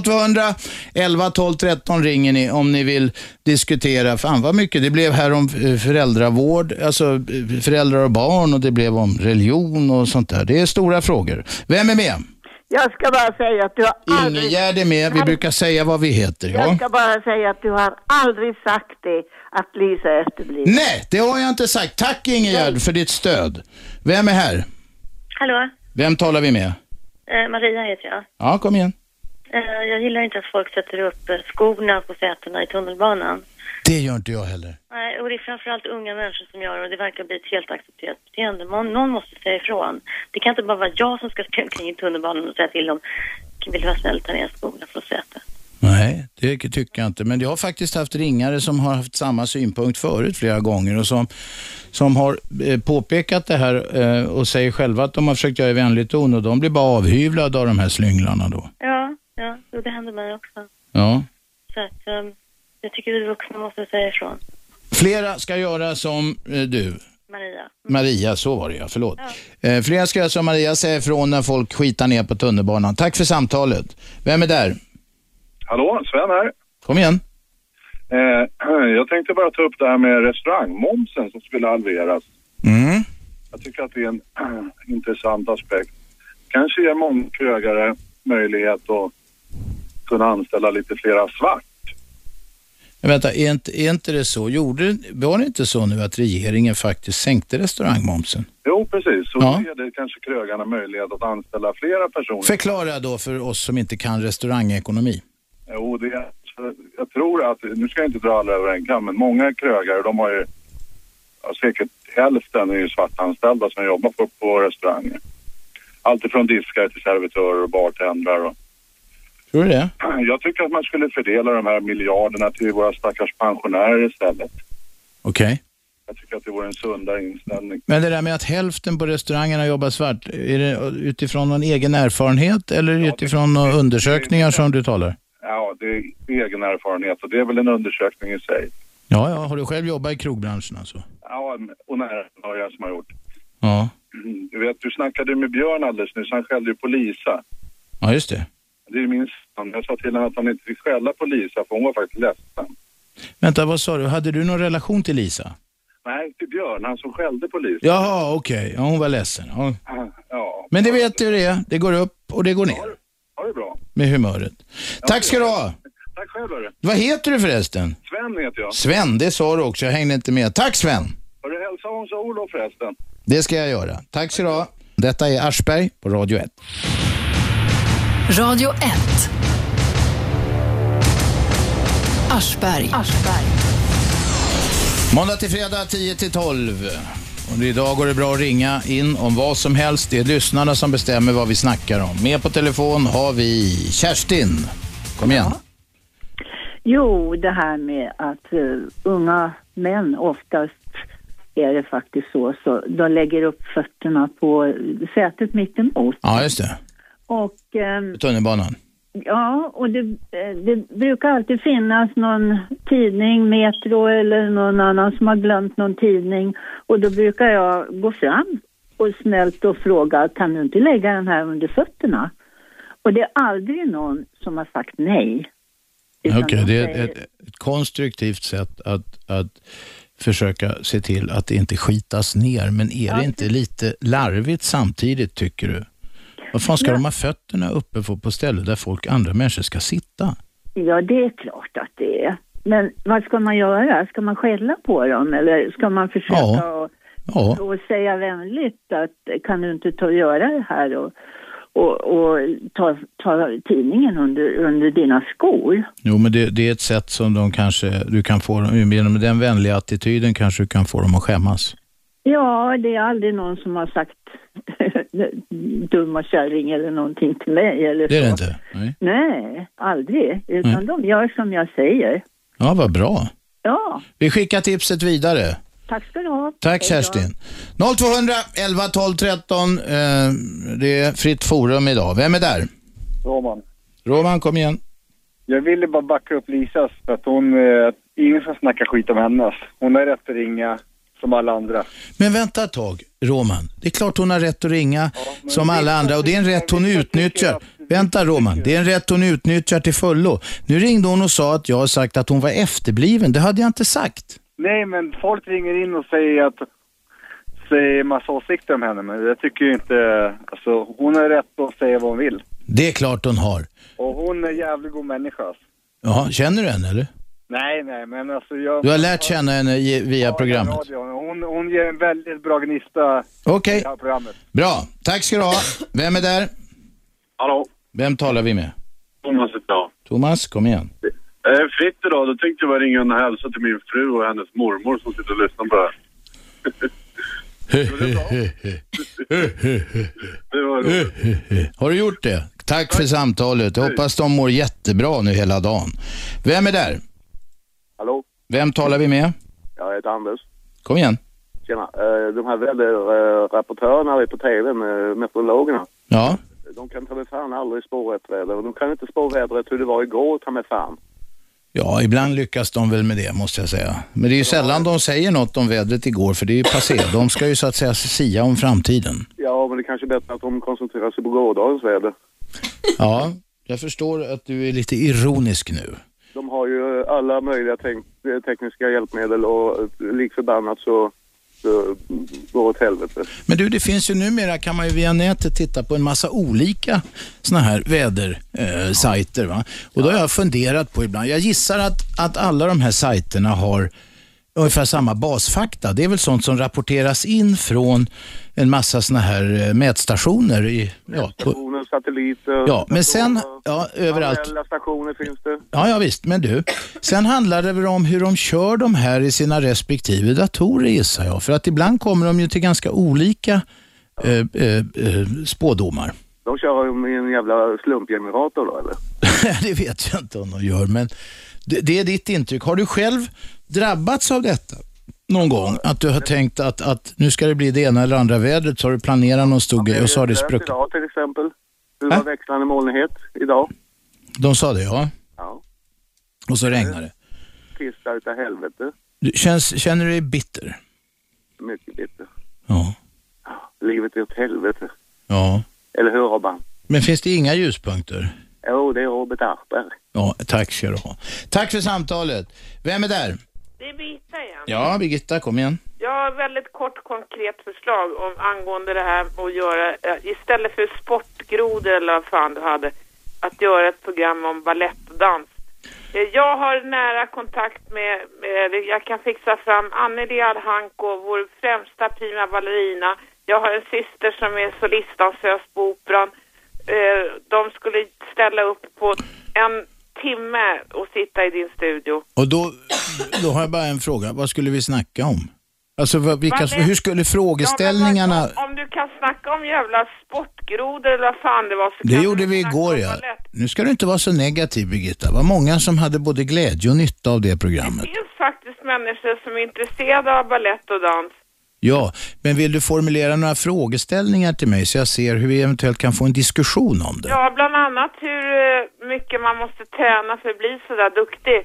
0200 11 12 13 ringer ni om ni vill diskutera. Fan vad mycket det blev här om eh, föräldravård, alltså eh, föräldrar och barn och det blev om religion och sånt där. Det är stora frågor. Vem är med? Jag ska bara säga att du har aldrig... Ingegärd är med. Vi brukar säga vad vi heter. Jag Ja. ska bara säga att du har aldrig sagt det, att Lisa är efterbliven. Nej, det har jag inte sagt. Tack Ingegärd för ditt stöd. Vem är här? Hallå, Vem talar vi med? eh, Maria heter jag. Ja, kom igen. Eh, jag gillar inte att folk sätter upp eh, skorna på sätena i tunnelbanan. Det gör inte jag heller. Nej, och det är framförallt unga människor som gör det och det verkar bli ett helt accepterat beteende. Någon, någon måste säga ifrån. Det kan inte bara vara jag som ska springa omkring i tunnelbanan och säga till dem, vill vara snäll ta ner skorna från sätet. Nej, det tycker jag inte. Men jag har faktiskt haft ringare som har haft samma synpunkt förut flera gånger och som, som har eh, påpekat det här eh, och säger själva att de har försökt göra i vänlig ton och de blir bara avhyvlade av de här slynglarna då. Ja, ja, jo, det händer mig också. Ja. Så att ehm, jag tycker vi vuxna måste säga ifrån. Flera ska göra som eh, du. Maria. Mm. Maria, så var det ja, förlåt. Eh, flera ska göra som Maria säger ifrån när folk skitar ner på tunnelbanan. Tack för samtalet. Vem är där? Hallå, Sven här. Kom igen. Eh, jag tänkte bara ta upp det här med restaurangmomsen som skulle halveras. Mm. Jag tycker att det är en intressant aspekt. Kanske ger momskrögare möjlighet att kunna anställa lite flera svart. Men vänta, är inte, är inte det så? Gjorde, var det inte så nu att regeringen faktiskt sänkte restaurangmomsen? Jo, precis. Så Ja. ger det kanske krögarna möjlighet att anställa flera personer. Förklara då för oss som inte kan restaurangekonomi. Jo, det är, jag tror att, nu ska jag inte dra alla över en kam, men många krögare de har ju, ja, säkert hälften är ju svartanställda som jobbar på, på restauranger. Allt ifrån diskare till servitörer och bartendrar. Och, Tror du det? jag tycker att man skulle fördela de här miljarderna till våra stackars pensionärer istället. Okej. Jag tycker att det vore en sundare inställning. Men det där med att hälften på restaurangerna jobbar svart, är det utifrån någon egen erfarenhet eller utifrån några undersökningar som du talar? Ja, det är egen erfarenhet och det är väl en undersökning i sig. Ja, ja, har du själv jobbat i krogbranschen alltså? Ja, och nära anhöriga som har gjort. Ja, Mm, Du vet, du snackade med Björn alldeles nyss, han skällde ju på Lisa. ja just det. Det är min son. Jag sa till henne att han inte fick skälla på Lisa för hon var faktiskt ledsen. Vänta, vad sa du? Hade du någon relation till Lisa? Nej, till Björn, han som skällde på Lisa. Jaha, okej. Ja, hon var ledsen. Ja. Ja, Men det vet du hur det är. Det går upp och det går ner ha det bra. med humöret. Tack ska du ha. Tack själv hörru. Vad heter du förresten? Sven heter jag. Sven, det sa du också. Jag hängde inte med. Tack Sven! Har du hälsat Hans och Olof förresten? Det ska jag göra. Tack så du ha. Detta är Aschberg på Radio 1. Radio 1. Aschberg. Måndag till fredag 10 till 12. Och idag går det bra att ringa in om vad som helst. Det är lyssnarna som bestämmer vad vi snackar om. Med på telefon har vi Kerstin. Kom igen. Jo, det här med att eh, unga män oftast är det faktiskt så, så de lägger upp fötterna på sätet mittemot. Ja, just det. Och ehm, Tunnelbanan. ja, och det, eh, det brukar alltid finnas någon tidning, Metro eller någon annan som har glömt någon tidning och då brukar jag gå fram och snällt och fråga, kan du inte lägga den här under fötterna? Och det är aldrig någon som har sagt nej. Okej, Utan de det är säger- ett, ett konstruktivt sätt att, att försöka se till att det inte skitas ner. Men är det inte lite larvigt samtidigt, tycker du? Vad fan ska Ja. de ha fötterna uppe på, på ställen där folk, andra människor ska sitta? Ja, det är klart att det är. Men vad ska man göra? Ska man skälla på dem eller ska man försöka Ja. och, Ja. och säga vänligt att kan du inte ta och göra det här och, och, och ta, ta tidningen under, under dina skor? Jo, men det, det är ett sätt som de kanske, du kan få dem, genom den vänliga attityden kanske du kan få dem att skämmas. Ja, det är aldrig någon som har sagt dumma kärring eller någonting till mig eller Det är så. det inte? Nej. Nej, aldrig. Utan Nej. de gör som jag säger. Ja, vad bra. Ja, Vi skickar tipset vidare. tack ska du ha. Tack Kerstin. 0200 11 12 13. Eh, det är fritt forum idag. Vem är där? Roman. Roman, kom igen. Jag ville bara backa upp Lisas för att hon, eh, ingen som snackar skit om hennes. Hon har rätt att ringa som alla andra. Men vänta ett tag, Roman. Det är klart hon har rätt att ringa som alla andra och det är en rätt hon utnyttjar. Vänta Roman, det är en rätt hon utnyttjar till fullo. Nu ringde hon och sa att jag har sagt att hon var efterbliven. Det hade jag inte sagt. Nej, men folk ringer in och säger att säger massa åsikter om henne, men jag tycker ju inte, alltså hon har rätt att säga vad hon vill. Det är klart hon har. Och hon är en jävligt god människa. alltså. Jaha, känner du henne eller? Nej, nej, men alltså jag... Du har lärt känna henne i- via programmet? Radion. Hon, hon ger en väldigt bra gnista Okej. i det här programmet. Bra, tack ska du ha. Vem är där? Hallå, Vem talar vi med? Thomas heter jag. Thomas, kom igen. Eh, fritt idag, då tänkte jag bara ringa och hälsa till min fru och hennes mormor som sitter och lyssnar på det här. Det var roligt. Har du gjort det? Tack för samtalet. Jag hoppas de mår jättebra nu hela dagen. Vem är där? Hallå? Vem talar vi med? Jag heter Anders. Kom igen. Tjena. Eh, De här väderrapportörerna här på tvn, eh, meteorologerna, Ja. de kan ta med fan aldrig spå rätt väder. Och De kan inte spå vädret hur det var igår, ta med fan. Ja, ibland lyckas de väl med det måste jag säga. Men det är ju sällan de säger något om vädret igår, för det är ju passé. De ska ju så att säga sia om framtiden. Ja, men det kanske är bättre att de koncentrerar sig på gårdagens väder. Ja, jag förstår att du är lite ironisk nu. De har ju eh, alla möjliga tänk- eh, tekniska hjälpmedel och eh, lik förbannat så, så går det åt helvete. Men du, det finns ju numera, kan man ju via nätet titta på en massa olika såna här vädersajter. Eh, sajter, va? Och då har jag funderat på ibland, jag gissar att, att alla de här sajterna har ungefär samma basfakta. Det är väl sånt som rapporteras in från en massa såna här eh, mätstationer. I, ja, på, Stationer, satelliter, ja, men sen, ja, överallt. manuella stationer finns det. Ja, ja, visst. Men du, sen handlar det väl om hur de kör de här i sina respektive datorer gissar jag. För att ibland kommer de ju till ganska olika eh, eh, eh, spådomar. De kör ju med en jävla slumpgenerator då eller? det vet jag inte om de gör, men det, det är ditt intryck. Har du själv drabbats av detta någon gång? Att du har tänkt att, att nu ska det bli det ena eller andra vädret, så har du planerat någon stor grej och så har det Löst spruckit. Idag till exempel. Det var växlande molnighet idag. De sa det, ja. Ja. Och så regnar det. Pissar utav helvete. Du, känns, känner du dig bitter? Mycket bitter. Ja. Livet är åt helvete. Ja. Eller hur Robban? Men finns det inga ljuspunkter? Jo, det är Robert Aschberg. Ja, tack ska du ha. Tack för samtalet. Vem är där? Det är Birgitta igen. Ja, Birgitta, kom igen. Jag har ett väldigt kort konkret förslag om angående det här att göra, eh, istället för sportgrodor eller vad fan du hade, att göra ett program om ballett och dans. Eh, Jag har nära kontakt med, med jag kan fixa fram Anneli Alhanko, vår främsta prima ballerina. Jag har en syster som är solistdansös på Operan. Eh, De skulle ställa upp på en timme och sitta i din studio. Och då, då har jag bara en fråga. Vad skulle vi snacka om? Alltså, vad, vilka, Vad är- hur skulle frågeställningarna... Om du kan snacka om jävla sportgrodor eller vad fan det var så Det kan gjorde du vi snacka igår, om ja. balett. Nu ska du inte vara så negativ, Birgitta. Det var många som hade både glädje och nytta av det programmet. Det finns faktiskt människor som är intresserade av ballett och dans. Ja, men vill du formulera några frågeställningar till mig så jag ser hur vi eventuellt kan få en diskussion om det? Ja, bland annat hur eh, mycket man måste träna för att bli sådär duktig.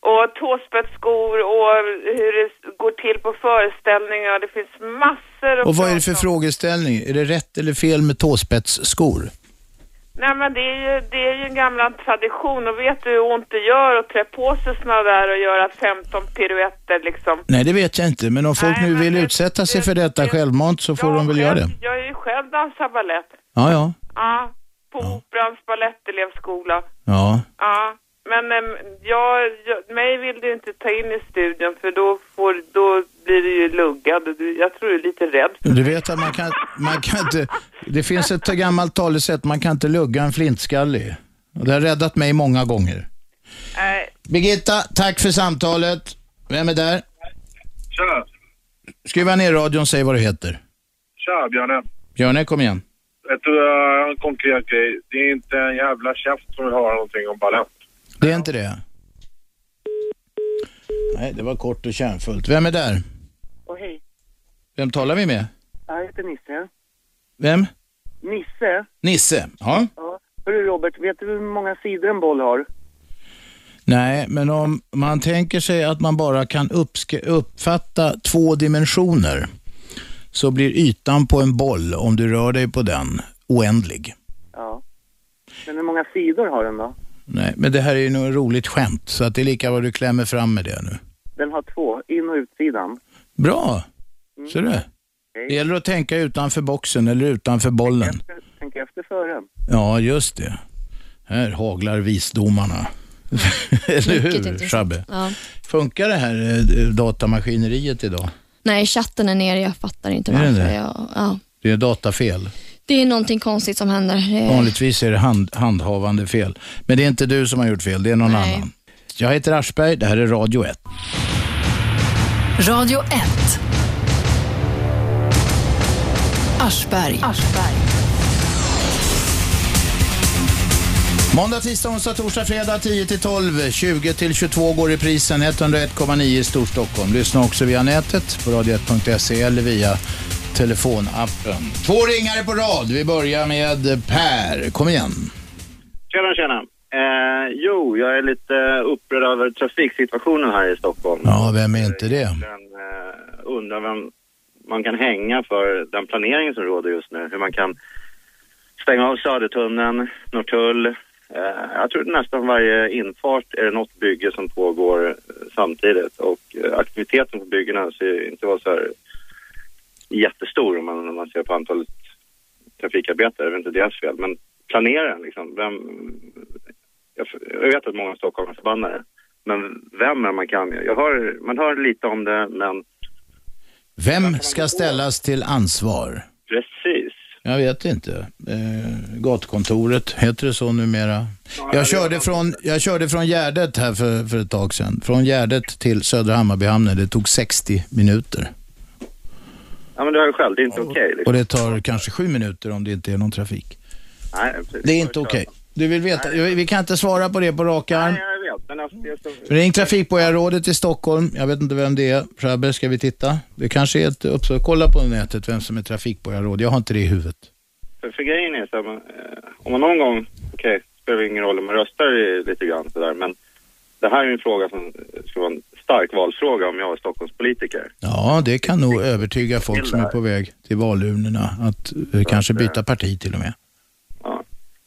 Och tåspetsskor och hur det går till på föreställningar. Det finns massor att Och vad är det prata för om. frågeställning? Är det rätt eller fel med tåspetsskor? Nej men det är ju, det är ju en gammal tradition och vet du hur ont det gör att trä på sig såna där och göra 15 piruetter liksom. Nej, det vet jag inte. Men om folk nu vill utsätta sig för detta självmant så får de väl göra det. Jag är ju själv dansar balett. Ja, ja. Ja, på Operans balettelevskola. Ja. Ja, men äm, jag, jag, mig vill du inte ta in i studion för då, får, då blir du ju luggad. och Du, jag tror du är lite rädd. Du vet att man kan, man kan inte... Det finns ett gammalt talesätt, man kan inte lugga en flintskallig. Och det har räddat mig många gånger. Birgitta, tack för samtalet. Vem är där? Tja, Skruva ner radion och säg vad du heter. tja Björne. Björne, kom igen. Vet du, jag eh, har en konkret grej. Det är inte en jävla käft som vill höra någonting om balett. Det är inte det. Nej, det var kort och kärnfullt. Vem är där? Och hej, Vem talar vi med? jag heter Nisse. Vem? Nisse? Nisse. Ja. Ja. Hörru Robert, vet du hur många sidor en boll har? Nej, men om man tänker sig att man bara kan uppska- uppfatta två dimensioner så blir ytan på en boll, om du rör dig på den, oändlig. Ja. Men hur många sidor har den då? Nej, men det här är ju nog ett roligt skämt, så att det är lika vad du klämmer fram med det nu. Den har två, in och utsidan. Bra! Ser Mm. du? Okej. Det gäller att tänka utanför boxen eller utanför bollen. Tänk efter fören. Ja, just det. Här haglar visdomarna. eller hur, Shabbe? Ja. Funkar det här eh, datamaskineriet idag? Nej, chatten är nere. Jag fattar inte Är den varför. det? Jag, ja. Det är datafel. Det är någonting konstigt som händer. Eh, Vanligtvis är det hand, handhavande fel. Men det är inte du som har gjort fel, det är någon Nej. annan. Jag heter Aschberg, det här är Radio 1. Radio 1. Aschberg. Aschberg. Måndag, tisdag, onsdag, torsdag, fredag 10 till 12. 20 till 22 går reprisen 101,9 i Storstockholm. Lyssna också via nätet på radio1.se eller via telefonappen. Två ringare på rad. Vi börjar med Per. Kom igen. Tjena, tjena. Eh, jo, jag är lite upprörd över trafiksituationen här i Stockholm. Ja, vem är inte det? Men, eh, undrar vem man kan hänga för den planering som råder just nu. Hur man kan stänga av Södertunneln, Norrtull. Eh, jag tror nästan varje infart är det något bygge som pågår eh, samtidigt och eh, aktiviteten på byggena ser ju inte vara så här jättestor om man, om man ser på antalet trafikarbetare. Det är inte deras fel, men planera liksom. Vem, jag, jag vet att många Stockholm är förbannade, men vem är man kan? Jag hör, man hör lite om det, men Vem ska ställas till ansvar? precis. Jag vet inte. Eh, gatukontoret, heter det så numera? Jag körde från, jag körde från Gärdet här för, för ett tag sedan. Från Gärdet till Södra Hammarbyhamnen. Det tog 60 minuter. Ja, men du hör ju själv, det är inte okej. liksom. Och det tar kanske sju minuter om det inte är någon trafik. Nej, precis. Det är inte okej. Du vill veta? Vi kan inte svara på det på rak arm. Nej, jag vet, men alltså, det är så... Ring trafikborgarrådet i Stockholm. Jag vet inte vem det är. Schabbe, ska vi titta? Det kanske är ett uppslag. Kolla på nätet vem som är trafikborgarråd. Jag har inte det i huvudet. För, för grejen är så här, man, eh, om man någon gång, okej, spelar ingen roll om man röstar i- lite grann sådär, men det här är ju en fråga som skulle vara en stark valfråga om jag var Stockholmspolitiker. Ja, det kan nog övertyga folk som är på väg till valurnorna att eh, kanske byta parti till och med.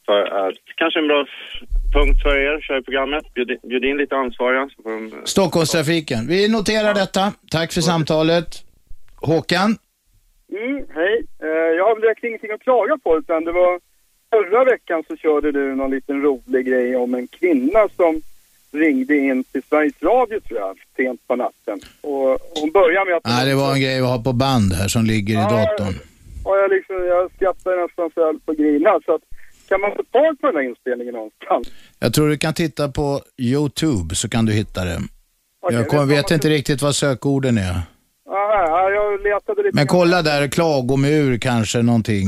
För att, kanske en bra f- punkt för er, kör i programmet, bjud, in- bjud in lite ansvariga så får de... eh, Stockholmstrafiken. Vi noterar detta. Tack för samtalet. Håkan? Mm, hej. Eh, jag har väl direkt ingenting att klaga på utan det var förra veckan så körde du någon liten rolig grej om en kvinna som ringde in till Sveriges Radio tror jag, sent på natten. Och hon började med att... Nej, det var en grej vi har på band här som ligger i datorn. Och jag, liksom, jag skrattade nästan så jag höll på att grina. Så att, kan man få tag på den här inspelningen någonstans? Jag tror du kan titta på YouTube så kan du hitta det. Jag kom, vet inte riktigt vad sökorden är. Ah, ja, jag letade lite. Men kolla där, klagomur kanske någonting.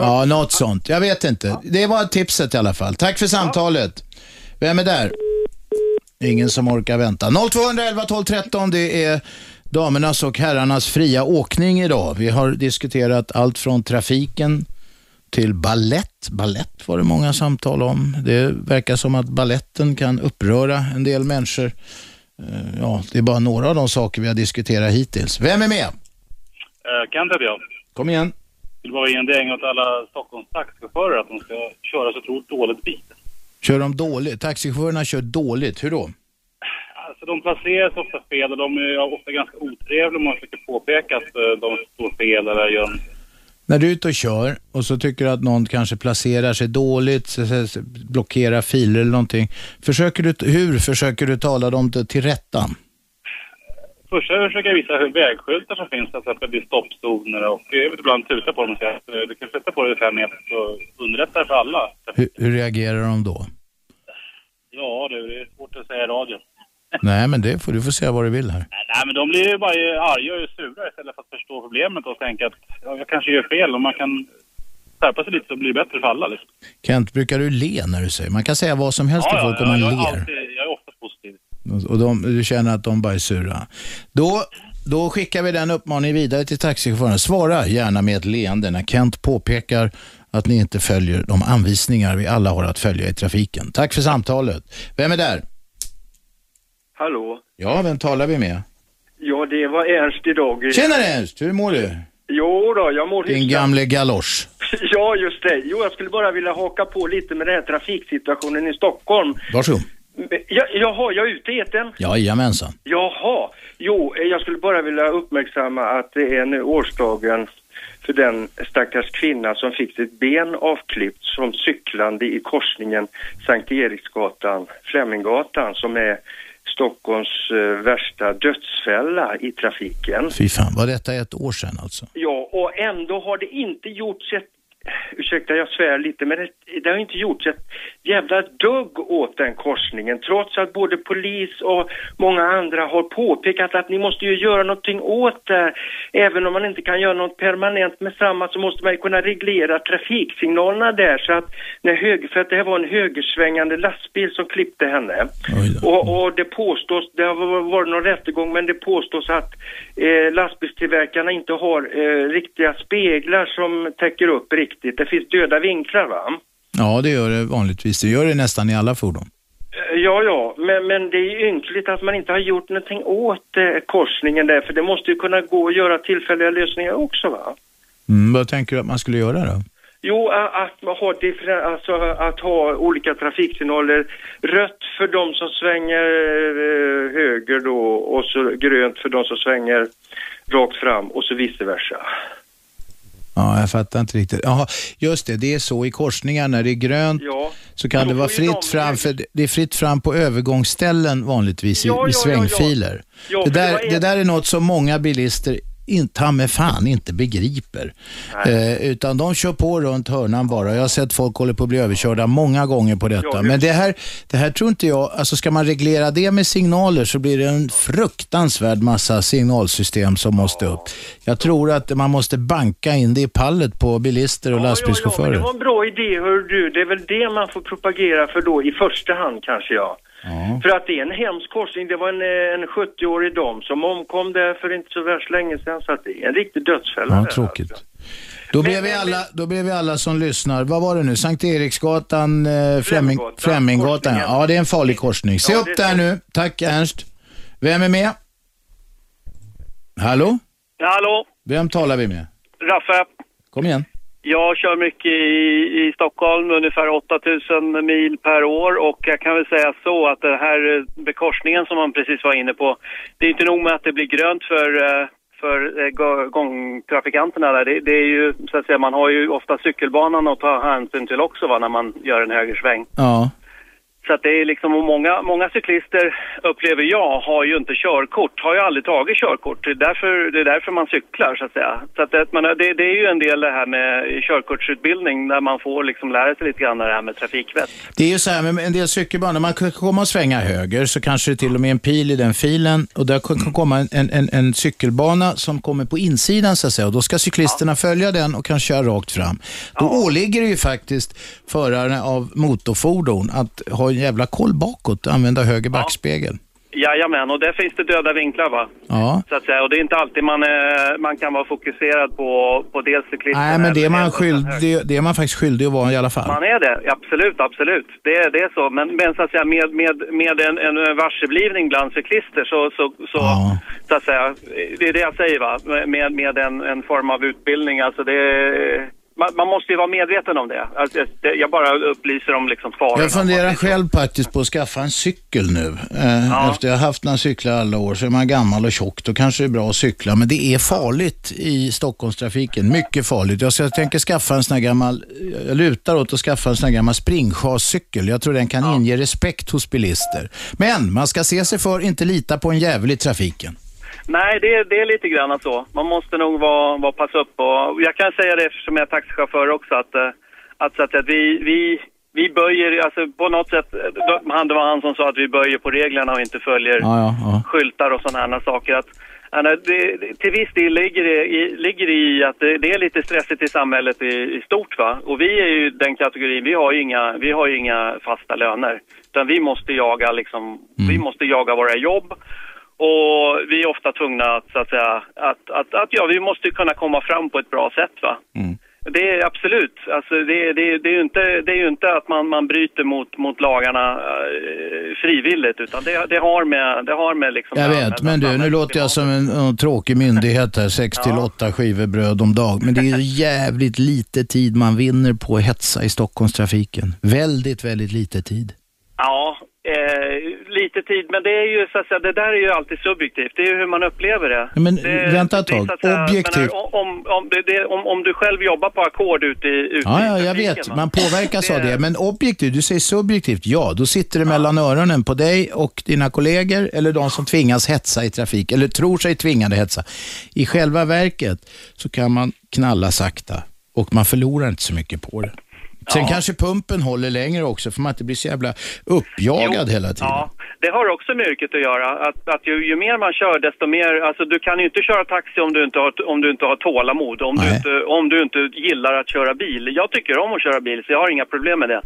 Ja, något sånt. Jag vet inte. Det var tipset i alla fall. Tack för samtalet. Vem är där? Ingen som orkar vänta. 0211 12 13, det är damernas och herrarnas fria åkning idag. Vi har diskuterat allt från trafiken till ballett. Ballett var det många samtal om. Det verkar som att balletten kan uppröra en del människor. Eh, Ja, det är bara några av de saker vi har diskuterat hittills. Vem är med? Eh, Kent heter jag. Kom igen. Vill bara ge en däng åt alla Stockholms taxichaufförer att de ska köra så otroligt dåligt bil. Kör de dåligt? Taxichaufförerna kör dåligt. Hur då? Alltså de placeras ofta fel och de är ofta ganska otrevliga om man försöker påpeka att eh, de står fel eller gör en... När du är ute och kör och så tycker du att någon kanske placerar sig dåligt, så- så- så- blockerar filer eller någonting. Försöker du, hur försöker du tala dem till till rätta? Först försöker jag visa hur vägskyltar som finns, alltså, till exempel vid stoppzoner och eh, jag vill ibland tuta på dem och säga att eh, du kan flytta på dig fem meter så underlättar det för alla. Hur, hur reagerar de då? Ja du, det är svårt att säga i radio. Nej, men det får du får säga vad du vill här. Nej, men de blir ju bara arga och sura istället för att förstå problemet och tänka att ja, jag kanske gör fel och man kan skärpa sig lite så blir det bättre för alla. Liksom. Kent, brukar du le när du säger? Man kan säga vad som helst till folk om man jag, är ler. alltid, jag är ofta positiv. Och de, du känner att de bara är sura. Då, då skickar vi den uppmaningen vidare till taxichauffören. Svara gärna med ett leende när Kent påpekar att ni inte följer de anvisningar vi alla har att följa i trafiken. Tack för samtalet. Vem är där? Hallå? Ja, vem talar vi med? Ja, det var Ernst idag. Tjenare Ernst, hur mår du? Jo då, jag mår Din hyfsat. gamle galosch. Ja, just det. Jo, jag skulle bara vilja haka på lite med den här trafiksituationen i Stockholm. Varsågod. Men- Ja, jaha, jag är ute i etern. Jajamensan. Jaha. Jo, eh, jag skulle bara vilja uppmärksamma att det är nu årsdagen för den stackars kvinna som fick sitt ben avklippt som cyklande i korsningen Sankt Eriksgatan, Fleminggatan, som är Stockholms eh, värsta dödsfälla i trafiken. Fy fan, var detta ett år sedan alltså? Ja, och ändå har det inte gjorts ett ursäkta jag svär lite, men det, det har inte gjorts ett jävla dugg åt den korsningen. Trots att både polis och många andra har påpekat att ni måste ju göra någonting åt det. Även om man inte kan göra något permanent med samma så måste man ju kunna reglera trafiksignalerna där. Så att när höger, för att det här var en högersvängande lastbil som klippte henne. Och, och det påstås, det har varit någon rättegång, men det påstås att eh, lastbilstillverkarna inte har eh, riktiga speglar som täcker upp riktigt. Det finns döda vinklar va? Ja, det gör det vanligtvis. Det gör det nästan i alla fordon. Eh, Ja, ja, men, men det är ju ynkligt att man inte har gjort någonting åt eh, korsningen där, för det måste ju kunna gå att göra tillfälliga lösningar också va? Mm, vad tänker du att man skulle göra då? Jo, a- att man har, differen- alltså, att ha olika trafiksignaler. Rött för de som svänger eh, höger då och så grönt för de som svänger rakt fram och så vice versa. Ja, jag fattar inte riktigt. Jaha, just det, det är så i korsningar när det är grönt Ja. så kan det vara fritt fram, för det är fritt fram på övergångsställen vanligtvis i, i svängfiler. Ja, det, för det där, var det, en- där är något som många bilister in- ta med fan inte begriper. Eh, utan de kör på runt hörnan bara. Jag har sett folk håller på att bli överkörda många gånger på detta. Ja, Men det här, det här tror inte jag, alltså ska man reglera det med signaler så blir det en fruktansvärd massa signalsystem som måste upp. Jag tror att man måste banka in det i pallet på bilister och Men lastbilschaufförer. det var en bra idé, hör du. Det är väl det man får propagera för då i första hand kanske, ja. För att det är en hemsk korsning. Det var en, eh, en 70-årig dam som omkom där för inte så värst länge sedan. Så att det är en riktig dödsfälla. Ja, där. alltså. tråkigt. Då blev, vi alla, då blev vi alla som lyssnar, vad var det nu, Sankt Eriksgatan, eh, Främing, Främminggatan? Ja, det är en farlig korsning. Se Ja, upp det- där nu. Tack Ernst. Vem är med? Hallå? Hallå, Vem talar vi med? Raffe. Kom igen. Jag kör mycket i, i Stockholm, ungefär 8000 mil per år och jag kan väl säga så att den här eh, bekorsningen som man precis var inne på, det är inte nog med att det blir grönt för, eh, för eh, gå- gångtrafikanterna där, det, det är ju så att säga, man har ju ofta cykelbanan att ta hänsyn till också va, när man gör en högersväng. Ja. Så att det är liksom, och många, många cyklister upplever jag har ju inte körkort, har ju aldrig tagit körkort. Det är därför, det är därför man cyklar så att säga. Så att det, man, det, det är ju en del det här med körkortsutbildning där man får liksom lära sig lite grann det här med trafikvett. Det är ju så här med en del cykelbanor, man kan komma och svänga höger så kanske det till och med är en pil i den filen och där kan kan komma en, en, en, en cykelbana som kommer på insidan så att säga och då ska cyklisterna följa den och kan köra rakt fram. Då åligger det ju faktiskt förarna av motorfordon att ha en jävla koll bakåt och använda höger backspegel. Jajamän, och där finns det döda vinklar va? Ja. Så att säga, och det är inte alltid man, eh, man kan vara fokuserad på, på dels cyklisterna. Nej, men det är, eller- man skyldig, det är man faktiskt skyldig att vara i alla fall. Man är det, absolut, absolut. Det, är- det är så. Men, men så att säga, med, med, med en, en varseblivning bland cyklister så, så, så, så att säga, det är det jag säger va, med, med en, en form av utbildning. Alltså det, man, man måste ju vara medveten om det. Alltså, det jag bara upplyser om liksom farorna. Jag funderar själv faktiskt på att skaffa en cykel nu. Eh, Efter jag har haft några cyklar alla år så är man gammal och tjock. Då kanske det är bra att cykla. Men det är farligt i Stockholmstrafiken. Mycket farligt. Jag, ska, jag tänker skaffa en sån här gammal, jag lutar åt att skaffa en sån här gammal springchascykel. Jag tror den kan inge respekt hos bilister. Men man ska se sig för, inte lita på en jävel i trafiken. Nej, det, är- det är lite grann så. Man måste nog vara, vara pass upp. Och jag kan säga det eftersom jag är taxichaufför också att, eh, att, så att, att vi, vi, vi böjer, alltså på något sätt, eh, då- han- det var han som sa att vi böjer på reglerna och inte följer Ja, ja, ja. skyltar och sådana här saker. Att, ja, nej, det, det- till viss del ligger det i, ligger i att det, det är lite stressigt i samhället i, i stort va. Och vi är ju den kategorin, vi har ju inga, vi har ju inga fasta löner. Utan vi måste jaga liksom, Mm. vi måste jaga våra jobb. Och vi är ofta tvungna att, så att säga, att, att, att ja, vi måste kunna komma fram på ett bra sätt va. Mm. Det är absolut, alltså det, det, det, är ju inte, det är ju inte att man, man bryter mot, mot lagarna eh, frivilligt utan det, det har med, det har med liksom Jag vet, men du, nu låter jag som en, en tråkig myndighet här. Sex till åtta skivor bröd om dag. Men det är ju jävligt lite tid man vinner på att hetsa i Stockholmstrafiken. Väldigt, väldigt lite tid. Ja, eh, lite tid, men det är ju så att säga, det där är ju alltid subjektivt. Det är ju hur man upplever det. Ja, men det, vänta ett det är tag. så att säga, Objektivt. jag menar, om, om, det, det, om, om du själv jobbar på ackord ute i ute Ja, i ja, jag trafiken, vet. va? Man påverkas av det. Men objektivt, du säger subjektivt. Ja, då sitter det mellan öronen på dig och dina kollegor eller de som tvingas hetsa i trafik, eller tror sig tvingade hetsa. I själva verket så kan man knalla sakta och man förlorar inte så mycket på det. Sen kanske pumpen håller längre också, för man inte blir så jävla uppjagad hela tiden. Ja, det har också med yrket att göra. Att, att ju, ju mer man kör desto mer, alltså du kan ju inte köra taxi om du inte har, om du inte har tålamod, om du, inte, om du inte gillar att köra bil. Jag tycker om att köra bil så jag har inga problem med det.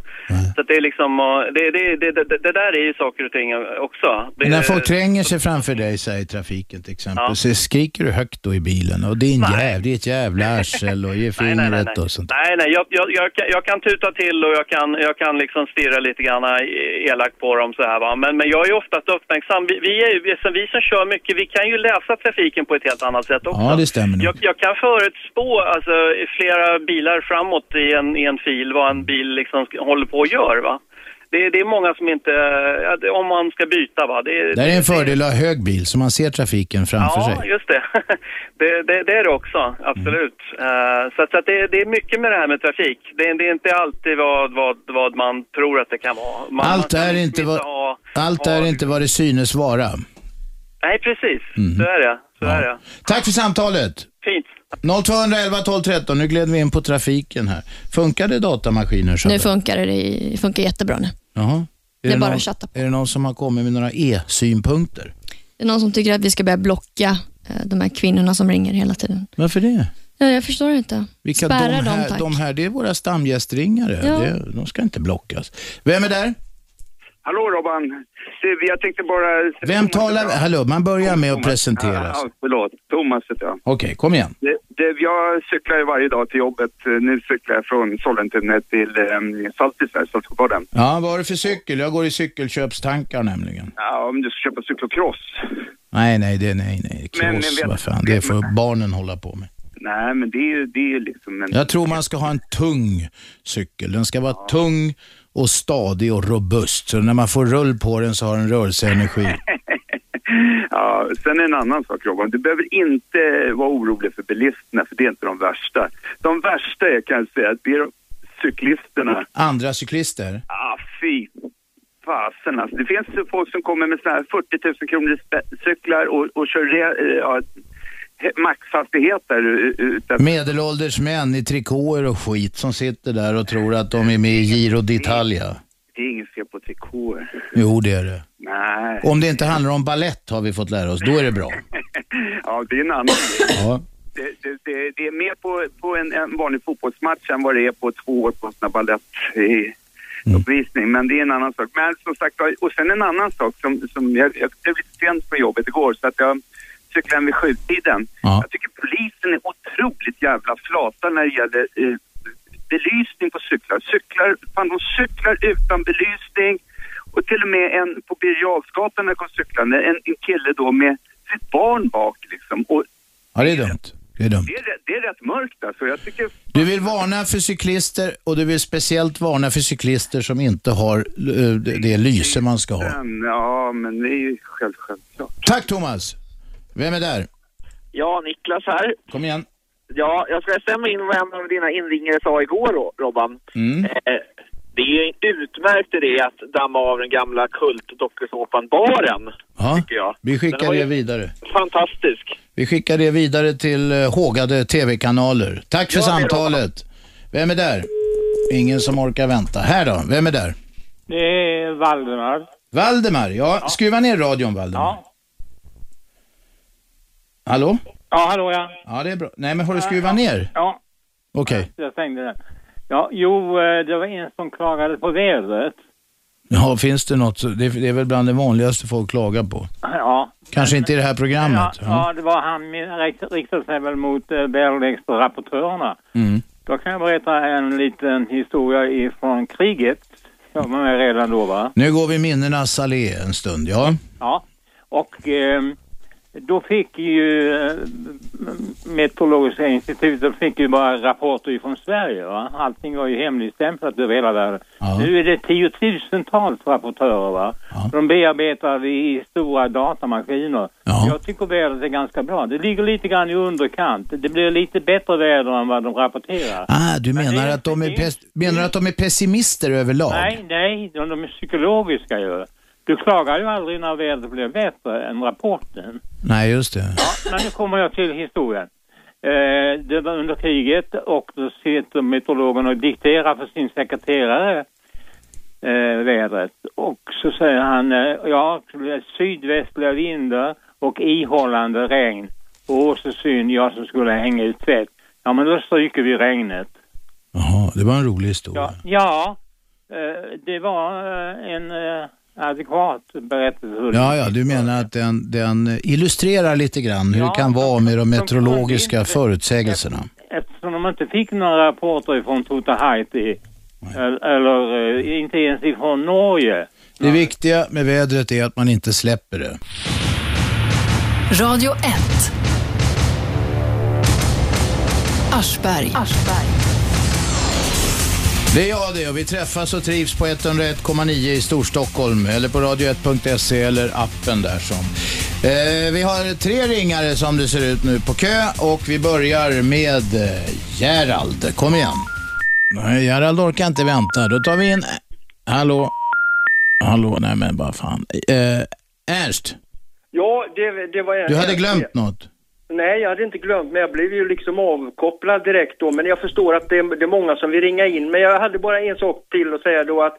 Så att det är liksom, eh, det, det, det, det, det där är ju saker och ting också. Det, Men när folk tränger sig framför dig så här, i trafiken till exempel, Ja. så skriker du högt då i bilen och din Nej. jäv, ditt jävla arsel och ge Nej, fingret nej, nej, nej. och sånt. Nej, nej, jag, jag, jag, kan- jag kan tuta till och jag kan, jag kan liksom stirra lite grann elak på dem så här va. Men, men jag är ju oftast uppmärksam. Vi, vi, är, ju- som vi som kör mycket, vi kan ju läsa trafiken på ett helt annat sätt också. Ja, det stämmer nog. Jag, jag kan förutspå alltså, flera bilar framåt i en, i en fil vad en bil liksom sk- håller på och gör va. Det, det är många som inte, ja, det- om man ska byta va. Det, Det här är en fördel att ha hög bil, så man ser trafiken framför Ja, sig. just det. Det, det. det är det också, absolut. Mm. Eh, så att, så att det, det är mycket med det här med trafik. Det, det är inte alltid vad, vad, vad man tror att det kan vara. Man, Allt man kan är liksom inte vad, ha- allt är inte vad det synes vara. Nej, precis. Mm. Så är det. Så är det. Tack för samtalet. Fint. 0211 12 13, nu gled vi in på trafiken här. Funkade datamaskiner? Shabbe? Nu funkar det, det funkar jättebra nu. Jaha. Det är bara att chatta är det någon som har kommit med några e-synpunkter? Det är någon som tycker att vi ska börja blocka eh, de här kvinnorna som ringer hela tiden. Varför det? Ja, jag förstår inte. Vilka de Spärra dem, här, tack. de här, det är våra stamgästringare. Ja. Det, de ska inte blockas. Vem är där? Hallå Robban! Du, jag tänkte bara... Vem talar? Hallå, man börjar med att presentera sig. Ja, förlåt, Thomas heter jag. Okej, kom igen. Det, det, jag cyklar ju varje dag till jobbet. Nu cyklar jag från Sollentuna till um, Saltisberg, Saltsjöbaden. Ja, vad har du för cykel? Jag går i cykelköpstankar nämligen. Ja, om du ska köpa cyklocross. Nej, nej, det, nej, nej. Men- men Kloss, vet- vad fan. Det får barnen hålla på med. Nej, men det är ju det är ju liksom en... Jag tror man ska ha en tung cykel. Den ska vara tung och stadig och robust. Så när man får rull på den så har den rörelseenergi. Ja, sen en annan sak Robban, du behöver inte vara orolig för bilisterna för det är inte de värsta. De värsta är kan jag säga, det är de cyklisterna. Andra cyklister? Ah, fy fasen alltså. Det finns ju folk som kommer med såna här 40 000 kronor spe- cyklar och, och kör re, eh, ja, he- maxhastigheter u- u- utan... Medelålders män i trikåer och skit som sitter där och tror att de är med i Giro d'Italia. Det är inget fel på trikåer. Jo, det är det. Nej. Om det inte handlar om ballett har vi fått lära oss, då är det bra. ja, det är en annan grej. Ja. Det, det, det, det är mer på, på en, en vanlig fotbollsmatch än vad det är på två år på en sån här balett- i- uppvisning, men det är en annan sak. Men som sagt, och sen en annan sak som, som jag, jag blev lite sent på jobbet igår så att jag cyklade hem vid sjutiden. Jag tycker polisen är otroligt jävla flata när det gäller eh, belysning på cyklar. Cyklar, fan de cyklar utan belysning och till och med en på Birger Jarlsgatan när jag kom cyklande, en, en kille då med sitt barn bak liksom. Och Ja, det är dumt. Det är dumt. det är, rätt- det är rätt mörkt alltså. Jag tycker Du vill varna för cyklister och du vill speciellt varna för cyklister som inte har eh, det- det lyse man ska ha. fan, ja men det är ju själv, självklart. Tack Thomas! Vem är där? Ja, Niklas här. Kom igen. Ja, jag ska stämma in vad en av dina inringare sa igår, Ro- Robban. Mm. Eh, det är utmärkt idé att damma av den gamla kultdokusåpan Baren, Ja, tycker jag. vi Den skickar var ju det vidare. Fantastisk. Vi skickar det vidare till eh, hågade tv-kanaler. Tack för samtalet. Vem är där? Ingen som orkar vänta. Här då, vem är där? Det är Valdemar. Valdemar, ja, skruva ner radion Valdemar. Ja. Hallå? ja, hallå ja. Ja, det är bra. Nej, men har du skruvat ner? Ja, Okej. jag stängde den. Ja, jo, eh, det var en som klagade på vädret. Ja, finns det något? så- Det är, det är väl bland det vanligaste folk klagar på. Ja, Kanske inte i det här ja, programmet. ja det var han min- rikt- riktade sig väl mot eh, väderleksrapportörerna. Mm. Då kan jag berätta en liten historia ifrån kriget. Jag var med redan då va? Nu går vi minnenas allé en stund, ja. Ja, och eh, då fick ju eh, Meteorologiska institutet fick ju bara rapporter från Sverige. Va? Allting var ju hemligstämplat över hela världen. Nu är det tiotusentals rapportörer. Va? De bearbetar i stora datamaskiner. Jag tycker vädret är ganska bra. Det ligger lite grann i underkant. Det blir lite bättre väder än vad de rapporterar. Ah, du menar att, de är pes- menar att de är pessimister överlag? Nej, nej, de, de är psykologiska ju. Du klagar ju aldrig när vädret blir bättre än rapporten. Nej, just det. Men nu kommer jag till historien. Eh, det var under kriget och då sitter meteorologen och dikterar för sin sekreterare eh, vädret. Och så säger han, eh, ja, sydvästliga vindar och ihållande regn. Åh, så synd, jag som skulle hänga ut tvätt. Ja, men då stryker vi regnet. Jaha, det var en rolig historia. Ja, ja eh, det var eh, en eh, adekvat berättelse. Ja, ja, du menar att den, den illustrerar lite grann hur det kan vara med de meteorologiska förutsägelserna. Eftersom de inte fick några rapporter från Totahaiti, eller, eller eh, inte ens ifrån Norge. Det viktiga med vädret är att man inte släpper det. Radio 1. Aschberg. Det är jag det och vi träffas och trivs på 101,9 i Storstockholm eller på radio1.se eller appen där som. Eh, vi har tre ringare som det ser ut nu på kö och vi börjar med eh, Gerald. Kom igen. Nej, Gerald orkar inte vänta. Då tar vi in... Hallå? Hallå? Nej men vad fan. Eh, Ernst, Ja, det, det var... du hade glömt något. Nej, jag hade inte glömt, men jag blev ju liksom avkopplad direkt då. Men jag förstår att det, det är många som vill ringa in. Men jag hade bara en sak till att säga då att,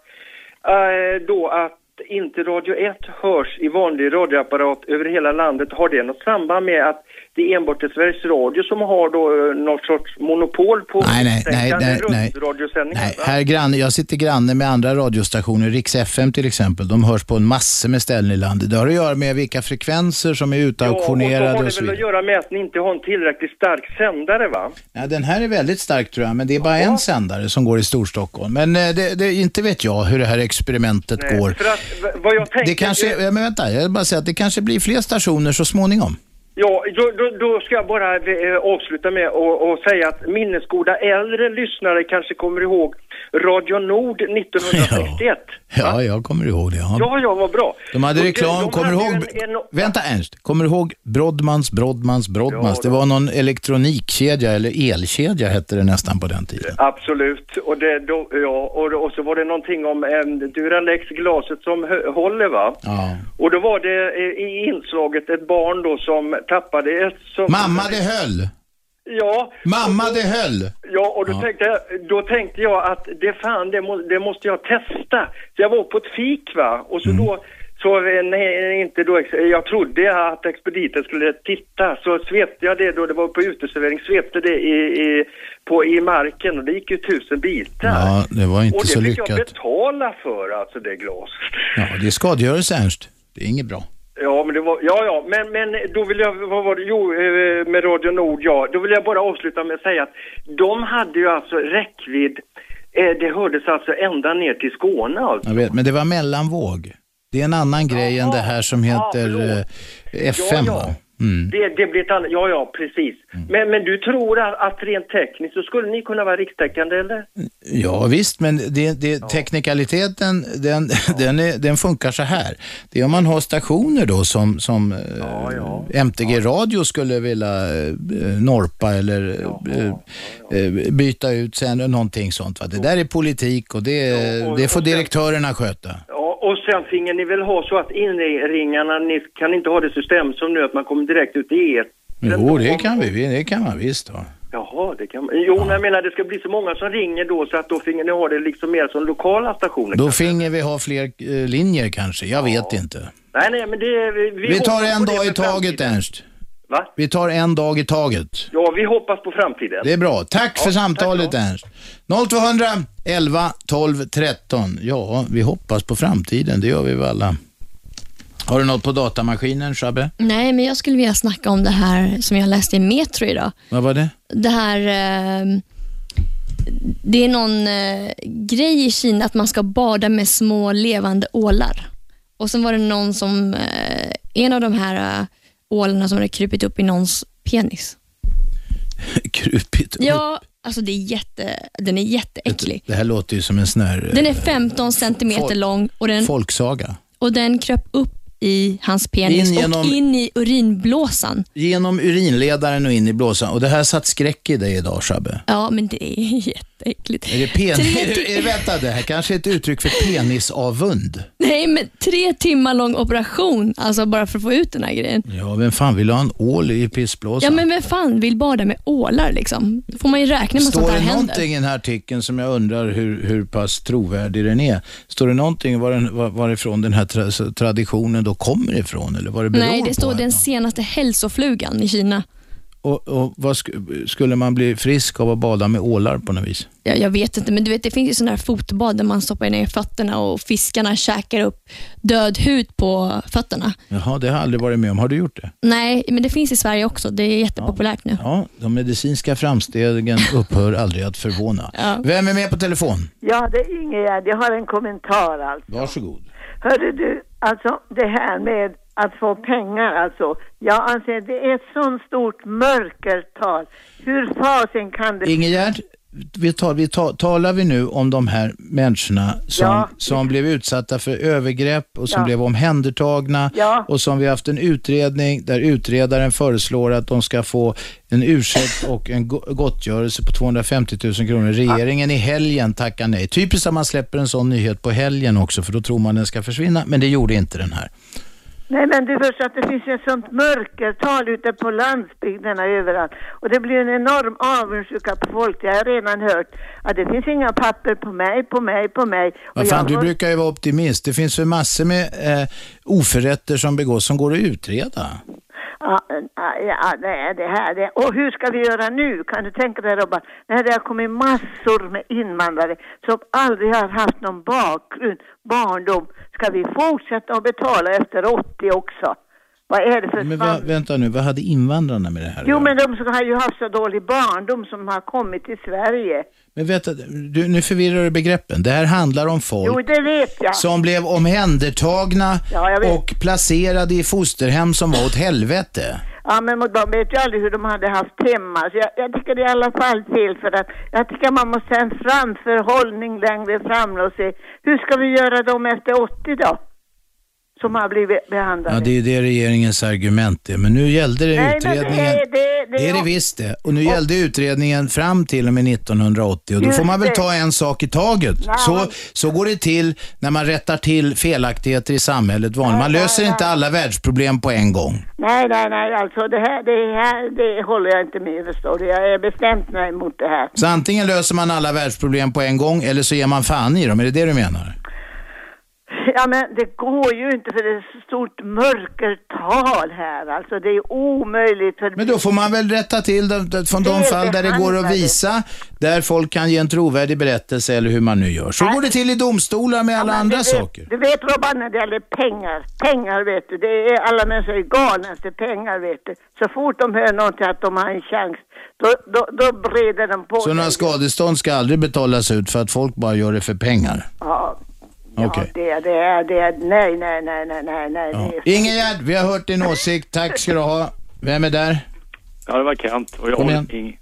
eh, då att inte Radio 1 hörs i vanlig radioapparat över hela landet. Har det något samband med att det är enbart är Sveriges Radio som har då eh, något sorts monopol på Nej, nej, nej, nej, nej. radiosändningar? Nej, här granne, jag sitter granne med andra radiostationer, Rix FM till exempel. De hörs på en massa med ställen i landet. Det har att göra med vilka frekvenser som är och då utauktionerade har och det så väl vidare. att göra med att ni inte har en tillräckligt stark sändare va? Ja, den här är väldigt stark tror jag, men det är bara en sändare som går i Storstockholm. Men eh, det, det, inte vet jag hur det här experimentet Nej, går. För att v- vad jag tänkte... Det kanske, ja, men vänta, jag vill bara säga att det kanske blir fler stationer så småningom. Ja, då, då, då ska jag bara eh, avsluta med att och säga att minnesgoda äldre lyssnare kanske kommer ihåg Radio Nord 1961. Ja, Ja, jag kommer ihåg det. Ja. ja, vad bra. De hade Och det- reklam, de kommer du hade ihåg? ju En, en, Vänta Ernst, kommer du ihåg Brodmans, Brodmans, Brodmans? det var någon elektronikkedja, eller elkedja hette det nästan på den tiden. absolut. Och, det, då, ja, och, och så var det någonting om eh, Duralex, glaset som hö- håller va? Ja. Och då var det eh, i inslaget ett barn då som tappade ett... Som, Mamma det höll! Ja. Mamma det höll! Ja, och då, Ja. Tänkte jag, då tänkte jag att det fan, det, må, det måste jag testa. Så jag var på ett fik va, och så Mm. då, så eh, nej, inte då, ex- jag trodde att expediten skulle titta, så svepte jag det då, det var på uteservering, svepte det i, i, på, i marken och det gick ju tusen bitar. Ja, det var inte och det så fick jag lyckat. betala för alltså det glaset. Ja, det är skadegörelse Ernst. Det är inget bra. Ja, men det var, ja, ja, men, men då vill jag, vad var det, jo, eh, med Radio Nord, ja, då vill jag bara avsluta med att säga att de hade ju alltså räckvidd, eh, det hördes alltså ända ner till Skåne alltså. Jag vet, men det var mellanvåg. Det är en annan grej än det här som heter eh, FM. Ja, ja. va? Mm. Det, det blir ett annat, ja, ja, precis. Men, men du tror att, att rent tekniskt så skulle ni kunna vara rikstäckande eller? Ja visst, men det, det, teknikaliteten den, den, är, den funkar så här. Det är om man har stationer då som, som eh, MTG Radio skulle vilja eh, norpa eller eh, eh, byta ut sen eller någonting sånt. Va? Det där är politik och det, det får direktörerna sköta. Ja, och sen finge ni väl ha så att inringarna, ni kan inte ha det system som nu att man kommer direkt ut i E etern. Jo, det kan vi, vi- det kan man visst. Va? Jaha, det kan man. Jo, men jag menar det ska bli så många som ringer då så att då finge ni ha det liksom mer som lokala stationer. Då finge vi ha fler eh, linjer kanske, jag vet inte. Nej, nej, men det... Vi, vi Vi tar hoppas en på det dag i för framtiden. taget Ernst. Va? Vi tar en dag i taget. Ja, vi hoppas på framtiden. Det är bra. Tack för samtalet Ernst. 0200 11 12 13. Ja, vi hoppas på framtiden. Det gör vi väl alla. Har du något på datamaskinen, Shabbe? Nej, men jag skulle vilja snacka om det här som jag läste i Metro idag. Vad var det? det här... Eh, det är någon eh, grej i Kina att man ska bada med små levande ålar. Och sen var det någon som... Eh, en av de här eh, ålarna som hade krupit upp i någons penis. Krupigt. Ja, alltså det är jätte, den är jätteäcklig. Det här låter ju som en sån här eh, Den är 15 centimeter Folk- lång och den, folksaga. och den kröp upp i hans penis In genom- och in i urinblåsan. Genom urinledaren och in i blåsan. Och det här satt skräck i dig idag, Shabbe. Ja, men det är jätteäckligt. Är det penis? Tre Är, ti- det- är, det- vänta, det här kanske är ett uttryck för penisavund. Nej, men tre timmar lång operation, alltså bara för att få ut den här grejen. Ja, vem fan vill ha en ål i pissblåsan? Ja, men vem fan vill bada med ålar liksom? Då får man ju räkna med att sånt Står här det händer. någonting i den här artikeln som jag undrar hur, hur pass trovärdig den är? Står det någonting var den, var, varifrån den här tra, traditionen då kommer ifrån eller vad det beror Nej, det står på? den senaste hälsoflugan i Kina. Och, och vad sk- skulle man bli frisk av att bada med ålar på något vis? Jag, jag vet inte, men du vet det finns ju sådana här fotbad där man stoppar ner fötterna och fiskarna käkar upp död hud på fötterna. Jaha, det har jag aldrig varit med om. Har du gjort det? Nej, men det finns i Sverige också. Det är jättepopulärt nu. Ja, de medicinska framstegen upphör aldrig att förvåna. Vem är med på telefon? Ja, det är Ingegärd. Jag har en kommentar alltså. Varsågod. Hörru du, alltså det här med att få pengar alltså. Jag anser det är ett sånt stort mörkertal. Hur fasen kan det... Ingegärd, vi tar, vi ta, talar vi nu om de här människorna som, Ja. som blev utsatta för övergrepp och som Ja. blev omhändertagna Ja. och som vi haft en utredning där utredaren föreslår att de ska få en ursäkt och en go- gottgörelse på 250 000 kronor. Regeringen i helgen tackar nej. Typiskt att man släpper en sån nyhet på helgen också för då tror man den ska försvinna, men det gjorde inte den här. Nej men du förstår att det finns ett sånt mörkertal ute på landsbygderna överallt. Och det blir en enorm avundsjuka på folk. Jag har redan hört att det finns inga papper på mig, på mig, på mig. Och Vad fan, jag du har- brukar ju vara optimist. Det finns väl massor med eh, oförrätter som begås som går att utreda. Ja, ja, ja, nej, det här det. Och hur ska vi göra nu? Kan du tänka dig Robban? När det har kommit massor med invandrare som aldrig har haft någon bakgrund, barndom. Ska vi fortsätta att betala efter 80 också? Vad är det för Men fan- vad, vänta nu, vad hade invandrarna med det här att Jo göra? men de som har ju haft så dålig barndom som har kommit till Sverige. Men vänta, du, nu förvirrar du begreppen. Det här handlar om folk Jo det vet jag. som blev omhändertagna Ja, jag vet. och placerade i fosterhem som var åt helvete. Ja, men mot- de vet ju aldrig hur de hade haft hemma. Så jag, jag tycker det är i alla fall fel för att jag tycker man måste ha en framförhållning längre fram och se hur ska vi göra dem efter 80 då? Som har blivit behandlade. Ja, det är ju det regeringens argument är. Men nu gällde det Nej, men det är- utredningen. det- det- det är det visst det. Och nu gällde utredningen fram till och med 1980. Och då Just får man väl det. ta en sak i taget. Nej. Så, så går det till när man rättar till felaktigheter i samhället. Van. Man löser inte alla världsproblem på en gång. Nej, nej, nej, alltså det här, det här, det håller jag inte med förstår du. Jag är bestämt nej emot det här. Så antingen löser man alla världsproblem på en gång eller så ger man fan i dem. Är det det du menar? Ja, men det går ju inte för det är så stort mörkertal här alltså. Det är omöjligt för... Men då får man väl rätta till det, det, från de fall där det går att Felbehandlade. visa, där folk kan ge en trovärdig berättelse eller hur man nu gör. Så går det till i domstolar med alla andra saker. Du vet Robban, när det gäller pengar, pengar vet du, det är alla människor är galna efter pengar vet du. Så fort de hör någonting att de har en chans, då, då, då breder de på Så sig. några skadestånd ska aldrig betalas ut för att folk bara gör det för pengar. Ja, Okej. det, det är, det är, nej, nej, nej, nej, nej, nej. Ja. det är- Ingegärd, vi har hört din åsikt. Tack ska du ha. Vem är där? Ja, det var Kent och jag, Kom håller, ing,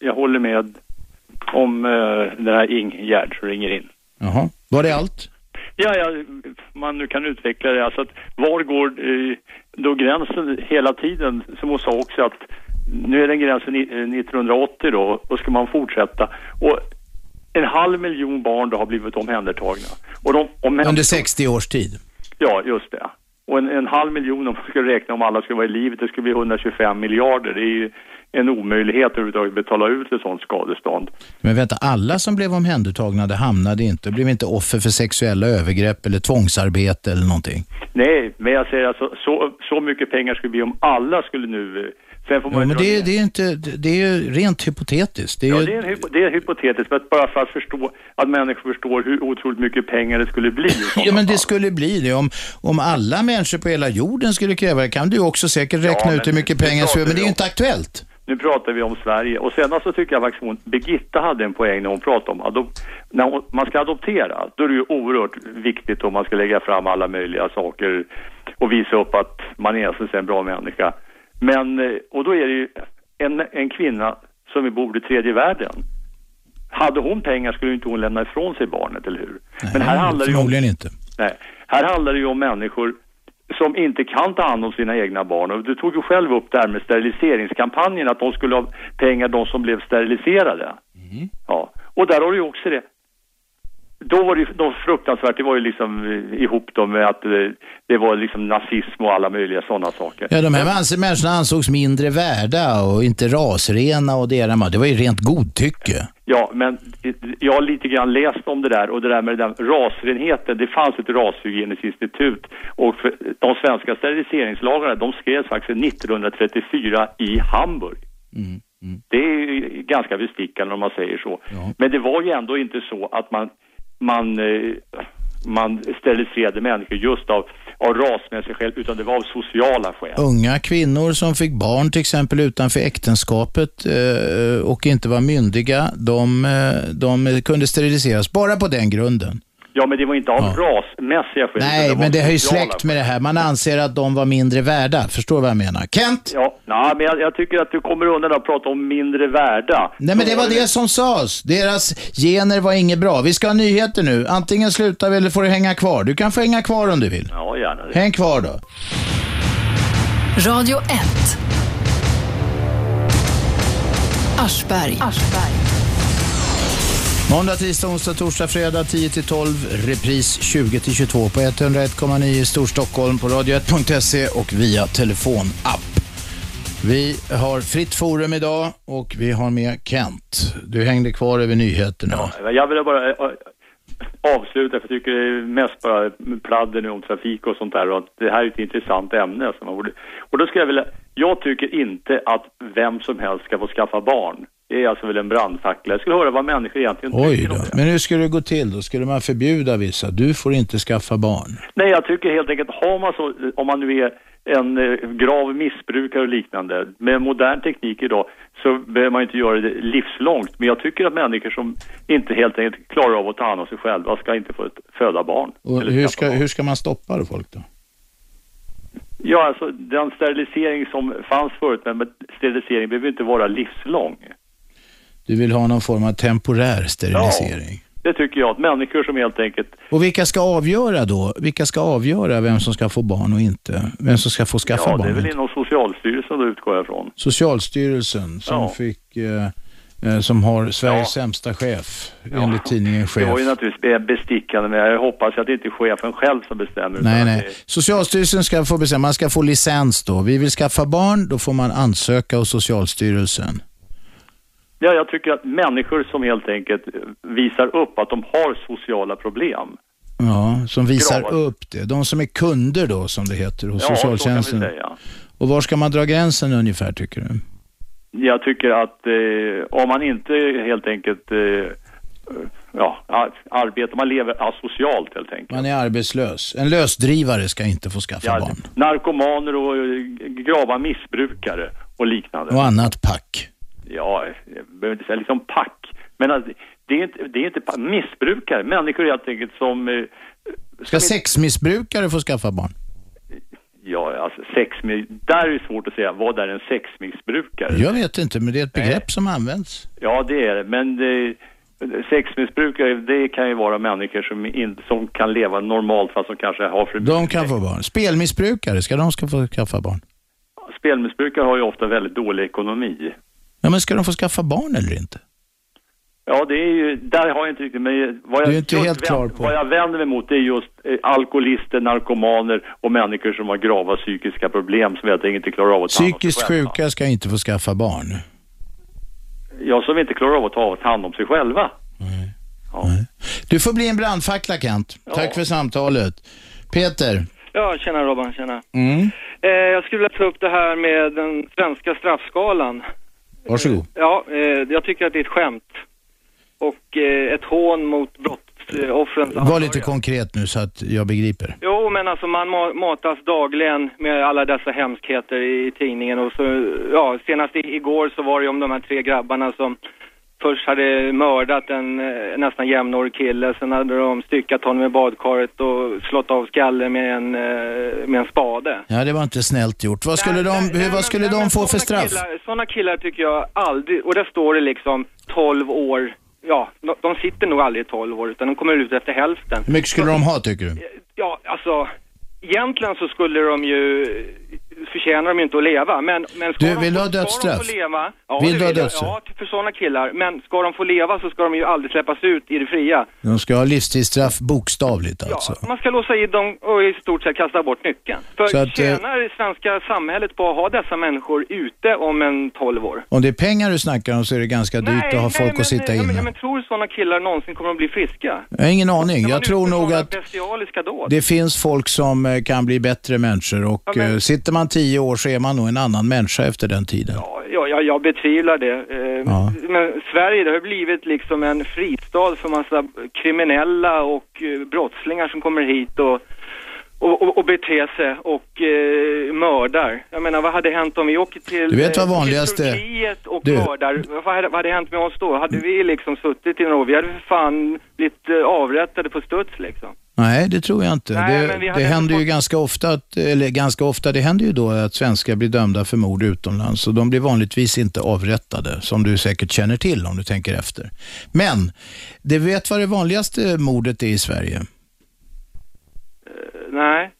jag håller med om eh, den här Ingegärd som ringer in. Jaha. Var det allt? Ja, ja, man nu kan utveckla det. Alltså att var går eh, då gränsen hela tiden? Som hon sa också att nu är den gränsen i- eh, 1980 då och ska man fortsätta. Och en halv miljon barn då har blivit omhändertagna. Och de, om, Under 60 års tid. Ja, just det. Och en, en halv miljon om man skulle räkna om alla skulle vara i livet, det skulle bli 125 miljarder. Det är ju en omöjlighet överhuvudtaget att betala ut ett sådant skadestånd. Men vänta, alla som blev omhändertagna det hamnade inte, blev inte offer för sexuella övergrepp eller tvångsarbete eller någonting. Nej, men jag säger alltså så, så mycket pengar skulle det bli om alla skulle nu... eh, Sen får Ja, man ju men dra det, ner. är- det, är inte, det är ju rent hypotetiskt. Det är Ja, ju- det är, en hypo, det är hypotetiskt, men bara för att förstå att människor förstår hur otroligt mycket pengar det skulle bli. Ja, men det skulle bli det. Om, om alla människor på hela jorden skulle kräva det kan du också säkert Ja, räkna men ut hur mycket det pengar som men pratar det är vi ju om. inte aktuellt. Nu pratar vi om Sverige. Och sen så tycker jag faktiskt hon, Birgitta hade en poäng när hon pratade om adop- när hon, man ska adoptera. Då är det ju oerhört viktigt om man ska lägga fram alla möjliga saker och visa upp att man är alltså en bra människa. Men, eh, och då är det ju en, en kvinna som är bor i tredje världen. Hade hon pengar skulle ju inte hon lämna ifrån sig barnet, eller hur? men här handlar det ju om Förmodligen inte. Nej, här handlar det ju om människor som inte kan ta hand om sina egna barn. Och du tog ju själv upp det här med steriliseringskampanjen, att de skulle ha pengar, de som blev steriliserade. Ja. Och där har du ju också det. Då var det ju då fruktansvärt, det var ju liksom eh, ihop då med att eh, det var liksom nazism och alla möjliga sådana saker. Ja, de här ans- människorna ansågs mindre värda och inte rasrena och det ena. Det var ju rent godtycke. Ja, men jag har lite grann läst om det där och det där med den rasrenheten. Det fanns ett rashygieniskt institut och för, de svenska steriliseringslagarna de skrevs faktiskt 1934 i Hamburg. Mm, Det är ju ganska bestickande om man säger så. Men det var ju ändå inte så att man, man, eh, man steriliserade människor just av, av rasmässiga skäl utan det var av sociala skäl. Unga kvinnor som fick barn till exempel utanför äktenskapet eh, och inte var myndiga, de, eh, de kunde steriliseras bara på den grunden. Ja, men det var inte av rasmässiga skäl. Nej, utan men var det är ju sociala släkt med det här. Man anser att de var mindre värda. Förstår du vad jag menar? Kent? Ja, nej, men jag, jag tycker att du kommer undan att prata om mindre värda. Nej, men det var det som sades. Deras gener var inget bra. Vi ska ha nyheter nu. Antingen slutar vi eller får du hänga kvar. Du kan få hänga kvar om du vill. Ja, gärna det. Häng kvar då. Radio 1. Aschberg. Måndag, tisdag, onsdag, torsdag, fredag 10-12. Repris 20-22 på 101,9 i Storstockholm på radio1.se och via telefonapp. Vi har fritt forum idag och vi har med Kent. Du hängde kvar över nyheterna. Jag vill bara eh, avsluta, för jag tycker det är mest bara pladder nu om trafik och sånt där. Och att det här är ett intressant ämne. Som man borde... Och då skulle jag vilja, jag tycker inte att vem som helst ska få skaffa barn. Det är alltså väl en brandfackla. Jag skulle höra vad människor egentligen Oj då. Men hur skulle det gå till? Då skulle man förbjuda vissa. Du får inte skaffa barn. Nej, jag tycker helt enkelt, har man så, om man nu är en eh, grav missbrukare och liknande, med modern teknik idag så behöver man inte göra det livslångt. Men jag tycker att människor som inte helt enkelt klarar av att ta hand om sig själva ska inte få ett- föda barn. Och hur, ska, hur ska man stoppa då folk då? Ja, alltså den sterilisering som fanns förut, men men sterilisering behöver inte vara livslång. Du vill ha någon form av temporär sterilisering. Det tycker jag att människor som helt enkelt, Och vilka ska avgöra då? Vilka ska avgöra vem som ska få barn och inte? Vem som ska få skaffa ja det är barn? väl inom Socialstyrelsen då utgår jag ifrån. Socialstyrelsen som Ja. fick, eh, eh, som har Sveriges sämsta chef, enligt tidningen Det Chef. var ju naturligtvis eh, bestickande, men jag hoppas att det inte är chefen själv som bestämmer. Nej, utan nej. Socialstyrelsen ska få bestämma, man ska få licens då. Vi vill skaffa barn, då får man ansöka hos Socialstyrelsen. Ja, jag tycker att människor som helt enkelt visar upp att de har sociala problem. Ja, som visar upp det. De som är kunder då, som det heter, hos Ja, så kan vi socialtjänsten. säga. Och var ska man dra gränsen ungefär, tycker du? Jag tycker att eh, om man inte helt enkelt eh, ja, ar- arbetar, man lever asocialt helt enkelt. Man är arbetslös. En lösdrivare ska inte få skaffa Ja, barn. Narkomaner och eh, grava missbrukare och liknande. Och annat pack. Ja, jag behöver inte säga liksom pack. Men alltså, det är inte, det är inte pa- missbrukare, människor helt enkelt som eh, Ska sexmissbrukare få skaffa barn? Ja, alltså sex, där är det svårt att säga, vad är en sexmissbrukare? Jag vet inte, men det är ett begrepp som används. Ja, det är det. Men det, sexmissbrukare, det kan ju vara människor som, inte som kan leva normalt fast som kanske har för mycket. De kan få barn. Spelmissbrukare, ska de ska få skaffa barn? Spelmissbrukare har ju ofta väldigt dålig ekonomi. Ja, men ska de få skaffa barn eller inte? Ja, det är ju, där har jag inte riktigt, men vad jag, Du är inte just helt klar på- vad jag vänder mig mot det är just eh, alkoholister, narkomaner och människor som har grava psykiska problem som helt enkelt inte klarar av att ta hand om sig Psykiskt själva. sjuka ska inte få skaffa barn. Ja, som inte klarar av att ta hand om sig själva. Du får bli en brandfackla, Kent. Tack för samtalet. Peter. Ja, tjena Robban, tjena. Mm. Eh, jag skulle vilja ta upp det här med den svenska straffskalan. Varsågod. Ja, eh, jag tycker att det är ett skämt. Och eh, ett hån mot brottsoffrens Var lite konkret nu så att jag begriper. Jo, men alltså man ma- matas dagligen med alla dessa hemskheter i, i tidningen och så, ja, senast i, igår så var det ju om de här tre grabbarna som först hade mördat en eh, nästan jämnårig kille, sen hade de styckat honom i badkaret och slått av skallen med en, eh, med en spade. Ja, det var inte snällt gjort. Vad skulle de, hur, vad skulle de få för straff? Killar, sådana killar tycker jag aldrig, och där står det liksom 12 år, ja, de, de sitter nog aldrig i 12 år utan de kommer ut efter hälften. Hur mycket skulle de ha, tycker du? Ja, alltså, egentligen så skulle de ju, förtjänar de ju inte att leva. Men, men ska Du, vill de, du ha få- ska dödsstraff? De få leva, ja, Vill det du ha jag. dödsstraff? Ja, för sådana killar. Men ska de få leva så ska de ju aldrig släppas ut i det fria. De ska ha livstidsstraff bokstavligt alltså. Man ska låsa in dem och i stort sett kasta bort nyckeln. För Så att, eh, tjänar det svenska samhället på att ha dessa människor ute om en 12 år? Om det är pengar du snackar om så är det ganska dyrt att ha folk att sitta Ja, men, ja, inne. men tror sådana killar någonsin kommer att bli friska? Jag har ingen aning. Jag tror nog att Bestialiska dåd. det finns folk som eh, kan bli bättre människor och eh, sitter man tio år så är man nog en annan människa efter den tiden. Ja, jag, jag betvivlar det. Eh, Ja. Men Sverige det har blivit liksom en fristad för massa kriminella och eh, brottslingar som kommer hit och, och, och, och beter sig och eh, mördar. Jag menar, vad hade hänt om vi åker till, eh, Du vet vad vanligaste- till Turkiet och Du. mördar? Vad hade, vad hade hänt med oss då? Hade vi liksom suttit i några år? Vi hade för fan blivit eh, avrättade på studs liksom. Nej, det tror jag inte. Nej, men vi det hade det inte händer ju ganska ofta, att, eller ganska ofta, det händer ju då att svenskar blir dömda för mord utomlands och de blir vanligtvis inte avrättade, som du säkert känner till om du tänker efter. Men, du vet vad det vanligaste mordet är i Sverige? Eh, Nej.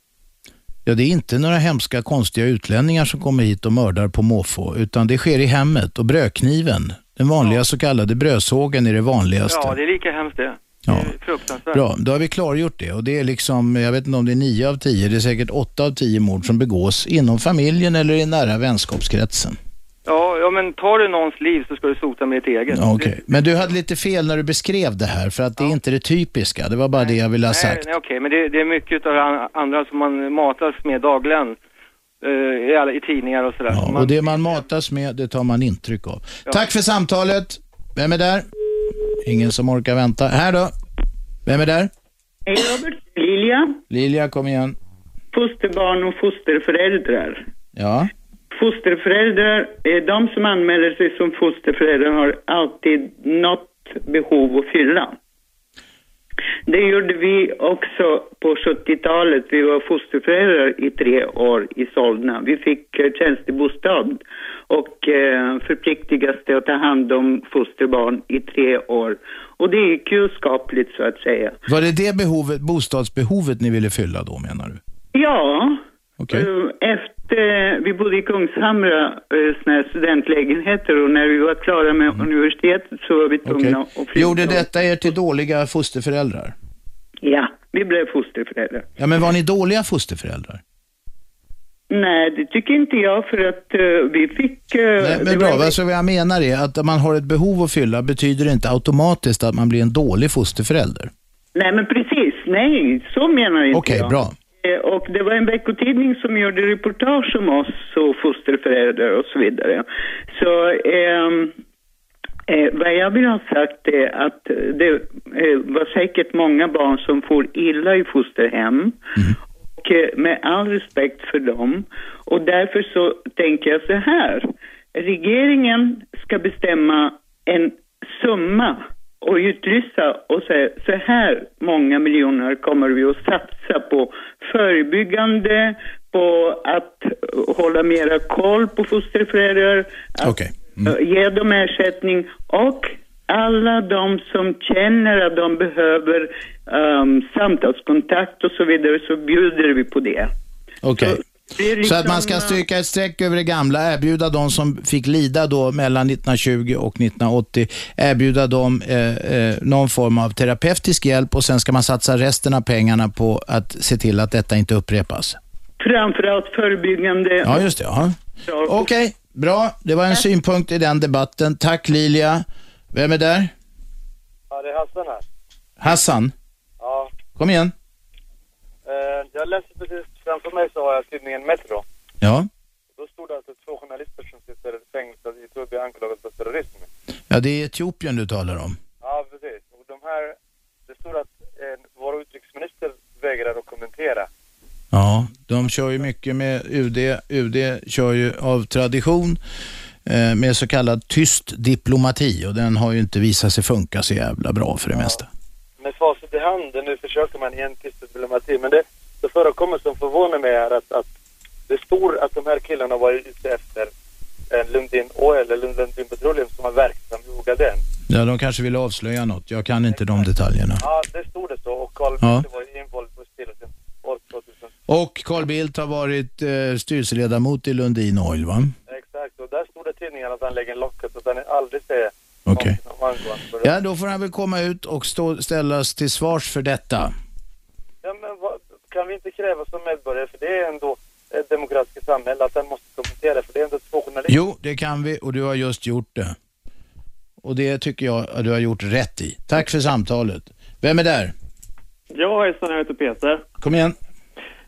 Ja, det är inte några hemska konstiga utlänningar som kommer hit och mördar på måfå, utan det sker i hemmet och brödkniven, den vanliga så kallade brödsågen är det vanligaste. Ja, det är lika hemskt det. Ja. Det är fruktansvärt. Bra, då har vi klargjort det. Och det är liksom, jag vet inte om det är nio av tio, det är säkert åtta av tio mord som begås inom familjen eller i nära vänskapskretsen. Ja, ja, men tar du någons liv så ska du sota med ditt eget. Okej, men du hade lite fel när du beskrev det här för att det är inte det typiska. Det var bara det jag ville ha Nej, sagt. nej, okej, men det, det är mycket av det an- andra som man matas med dagligen eh, i, alla, i tidningar och sådär. Ja, man, och det man matas med, det tar man intryck av. Tack för samtalet. Vem är där? Ingen som orkar vänta. Här då. Vem är där? Hej Robert, Lilja. Lilja, kom igen. Fosterbarn och fosterföräldrar. Ja. Fosterföräldrar, eh, de som anmäler sig som fosterföräldrar har alltid något behov att fylla. Det gjorde vi också på 70-talet. Vi var fosterföräldrar i tre år i Solna. Vi fick eh, tjänstebostad och eh, förpliktigas till att ta hand om fosterbarn i tre år. Och det gick ju skapligt så att säga. Var det det behovet, bostadsbehovet ni ville fylla då menar du? Ja. Eh, Efter, eh, vi bodde i Kungshamra, eh, såna här studentlägenheter och när vi var klara med Mm. universitetet så var vi tvungna att flytta. Gjorde detta er till dåliga fosterföräldrar? Ja, vi blev fosterföräldrar. Ja, men var ni dåliga fosterföräldrar? Nej, det tycker inte jag för att eh, vi fick... eh, Nej, det men var bra, en- alltså vad jag menar är att om man har ett behov att fylla betyder det inte automatiskt att man blir en dålig fosterförälder. Nej, men precis. Nej, så menar inte Okej, jag. bra. Eh, Och det var en veckotidning som gjorde reportage om oss och fosterföräldrar och så vidare. Så ehm, eh, vad jag vill ha sagt är att det eh, var säkert många barn som for illa i fosterhem. Och eh, med all respekt för dem. Och därför så tänker jag så här. Regeringen ska bestämma en summa och utlysa och säga så här många miljoner kommer vi att satsa på förebyggande, på att eh, hålla mera koll på fosterföräldrar, att Mm. eh, ge dem ersättning och alla de som känner att de behöver um, samtalskontakt och så vidare så bjuder vi på det. Okej. Det är Så att liksom, man ska stryka ett streck över det gamla, erbjuda de som fick lida då mellan 1920 och 1980, erbjuda dem eh, eh, någon form av terapeutisk hjälp och sen ska man satsa resten av pengarna på att se till att detta inte upprepas. Framförallt förebyggande. Ja, just det. Ja. Okej, bra. Det var en synpunkt i den debatten. Tack Lilia. Vem är där? Ja, det är Hassan här. Hassan? Ja. Kom igen. Eh, jag läste precis, framför mig så har jag tidningen Metro. Ja. Då stod det att det är två journalister som sitter fängslade i Etiopien anklagade för terrorism. Ja, det är Etiopien du talar om. Ja, precis. Och de här, det stod att eh, vår utrikesminister vägrar att kommentera. Ja, de kör ju mycket med UD. UD kör ju av tradition eh, med så kallad tyst diplomati och den har ju inte visat sig funka så jävla bra för det mesta. Med facit i handen nu försöker man igen tyst diplomati, men det, det förekommer som förvånar mig är att, att det står att de här killarna var ute efter eh, Lundin Oil eller Lundin Petroleum som var verksam i Ogaden. Ja, de kanske vill avslöja något. Jag kan inte de detaljerna. Ja, det stod det så och Carl Ja. Bildt var ju invald på styrelsen år 2002. Och Carl Bildt har varit eh, styrelseledamot i Lundin Oil, va? Exakt, och där stod det i tidningen att han lägger locket så att han aldrig ser Okej. om angående för det. Ja, då får han väl komma ut och stå, ställas till svars för detta. Ja, men vad, kan vi inte kräva som medborgare, för det är ändå ett demokratiskt samhälle, att han måste kommentera, för det är ändå två journalister. Jo, det kan vi och du har just gjort det. Och det tycker jag att du har gjort rätt i. Tack för samtalet. Vem är där? Ja, hejsan, jag heter Peter. Kom igen.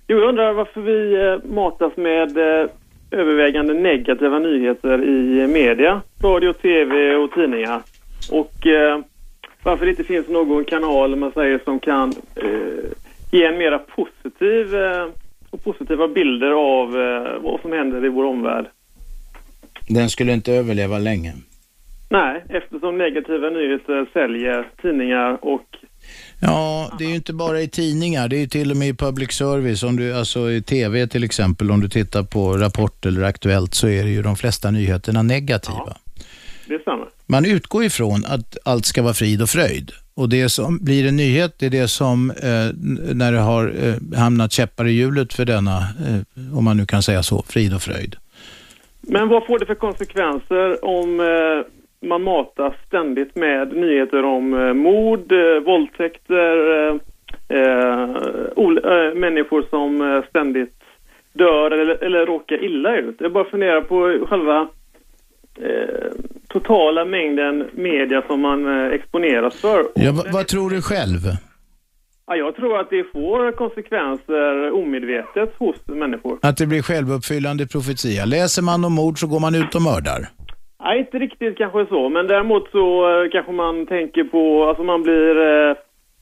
Jo, jag undrar varför vi eh, matas med eh, övervägande negativa nyheter i eh, media, radio, tv och tidningar. Och eh, varför det inte finns någon kanal, man säger, som kan eh, ge en mera positiv eh, och positiva bilder av eh, vad som händer i vår omvärld. Den skulle inte överleva länge. Nej, eftersom negativa nyheter säljer tidningar och Ja, det är ju inte bara i tidningar, det är ju till och med i public service, om du, alltså i tv till exempel, om du tittar på Rapport eller Aktuellt så är det ju de flesta nyheterna negativa. det stämmer. Man utgår ifrån att allt ska vara frid och fröjd. Och det som blir en nyhet, det är det som, eh, n- när det har eh, hamnat käppar i hjulet för denna, eh, om man nu kan säga så, frid och fröjd. Men vad får det för konsekvenser om eh, man matas ständigt med nyheter om eh, mord, eh, våldtäkter, eh, eh, ol- eh, människor som eh, ständigt dör eller, eller råkar illa ut? Jag bara funderar på själva eh, totala mängden media som man eh, exponeras för. Ja, va, vad tror du själv? Ja, jag tror att det får konsekvenser omedvetet hos människor. Att det blir självuppfyllande profetia. Läser man om mord så går man ut och mördar. Nej, inte riktigt kanske så, men däremot så eh, kanske man tänker på, alltså man blir eh,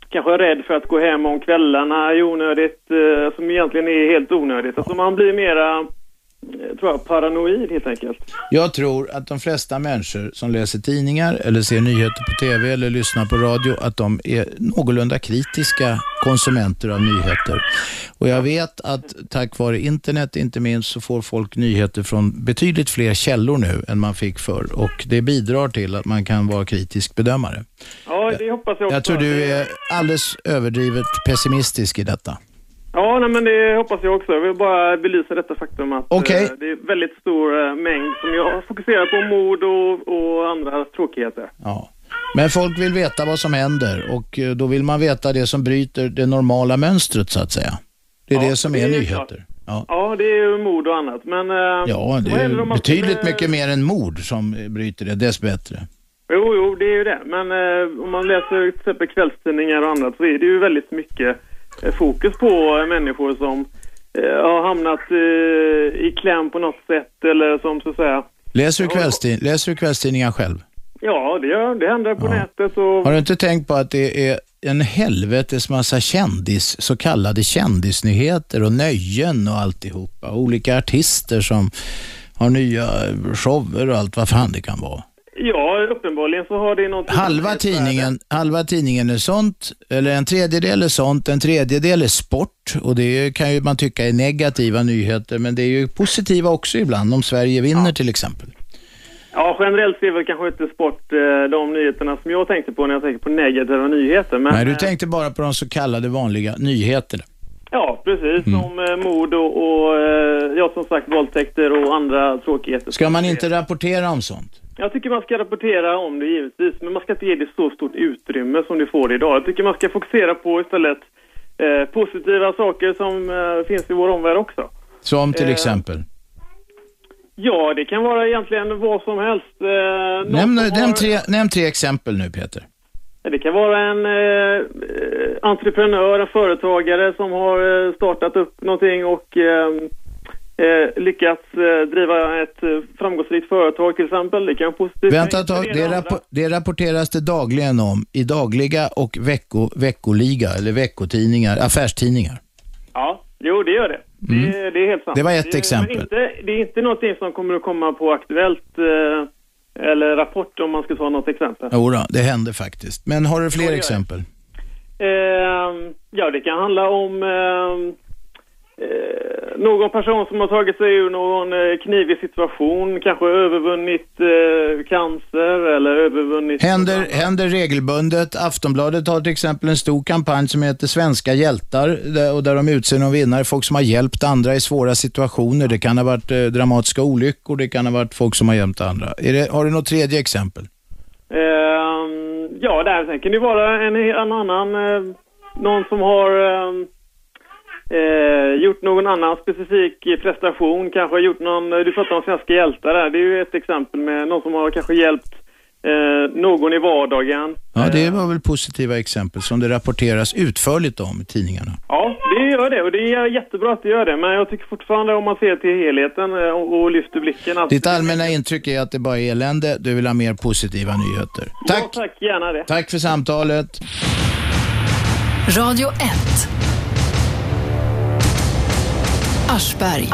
kanske rädd för att gå hem om kvällarna i onödigt, eh, som egentligen är helt onödigt. Alltså man blir mera, eh, tror jag, paranoid helt enkelt. Jag tror att de flesta människor som läser tidningar eller ser nyheter på TV eller lyssnar på radio, att de är någorlunda kritiska konsumenter av nyheter. Och jag vet att tack vare internet inte minst så får folk nyheter från betydligt fler källor nu än man fick förr och det bidrar till att man kan vara kritisk bedömare. Ja, det hoppas jag också. Jag tror du är alldeles överdrivet pessimistisk i detta. Ja, nej, men det hoppas jag också. Jag vill bara belysa detta faktum att Okej. eh, det är väldigt stor eh, mängd som jag fokuserar på mord och, och andra tråkigheter. Ja. Men folk vill veta vad som händer och eh, då vill man veta det som bryter det normala mönstret så att säga. Det är det som är, det är klart. nyheter. Ja. det är ju mord och annat, men... eh, Ja, det vad händer är om man betydligt skulle- mycket mer än mord som eh, bryter det, dessbättre. Jo, jo, det är ju det. Men eh, om man läser till exempel kvällstidningar och annat så är det ju väldigt mycket eh, fokus på eh, människor som eh, har hamnat eh, i kläm på något sätt eller som så att säga. Läser du, kvällstid- läser du kvällstidningar själv? Ja, det, gör, det händer på nätet och... Har du inte tänkt på att det är en helvetes massa kändis, så kallade kändisnyheter och nöjen och alltihopa. Olika artister som har nya eh, shower och allt vad fan det kan vara. Ja, uppenbarligen så har det något... Halva tidningen, halva tidningen är sånt, eller en tredjedel är sånt, en tredjedel är sport och det kan ju man tycka är negativa nyheter, men det är ju positiva också ibland, om Sverige vinner till exempel. Ja, generellt ser väl kanske inte sport eh, de nyheterna som jag tänkte på när jag tänker på negativa nyheter. Men, Nej, du eh, tänkte bara på de så kallade vanliga nyheterna. Ja, precis. Mm. Som eh, mord och, och eh, ja, som sagt våldtäkter och andra tråkigheter. Ska man inte rapportera om sånt? Jag tycker man ska rapportera om det givetvis, men man ska inte ge det så stort utrymme som det får idag. Jag tycker man ska fokusera på istället eh, positiva saker som eh, finns i vår omvärld också. Som till Eh, exempel? Ja, det kan vara egentligen vad som helst. Eh, Nämn, någon som nämn, har- tre, nämn tre exempel nu, Peter. Det kan vara en eh, eh, entreprenör, en företagare som har eh, startat upp någonting och eh, eh, lyckats eh, driva ett eh, framgångsrikt företag till exempel. Det kan vara positivt. Vänta ett tag, det, rappo- det rapporteras det dagligen om i dagliga och vecko, veckoliga, eller veckotidningar, affärstidningar. Ja, jo det gör det. Mm. Det, det är helt sant. Det var ett men exempel. Inte, det är inte någonting som kommer att komma på Aktuellt eh, eller Rapport om man ska ta något exempel. Jodå, det händer faktiskt. Men har du fler exempel? Ehm, ja, det kan handla om ehm, eh, någon person som har tagit sig ur någon eh, knivig situation, kanske övervunnit eh, cancer eller övervunnit... Händer, händer regelbundet. Aftonbladet har till exempel en stor kampanj som heter Svenska hjältar där, och där de utser någon vinnare. Folk som har hjälpt andra i svåra situationer. Det kan ha varit eh, dramatiska olyckor, det kan ha varit folk som har hjälpt andra. Är det, har du något tredje exempel? Ehm, ja, där sen kan det vara en, en annan, eh, någon som har ehm, eh, gjort någon annan specifik prestation, kanske har gjort någon, du pratade om svenska hjältar där, det är ju ett exempel med någon som har kanske hjälpt eh, någon i vardagen. Ja, det var väl positiva exempel som det rapporteras utförligt om i tidningarna. Ja, det gör det och det är jättebra att det gör det, men jag tycker fortfarande om man ser till helheten eh, och, och lyfter blicken. Att, Ditt allmänna intryck är att det bara är elände. Du vill ha mer positiva nyheter. Tack, Ja, tack, gärna det. tack för samtalet. Radio 1. Aschberg.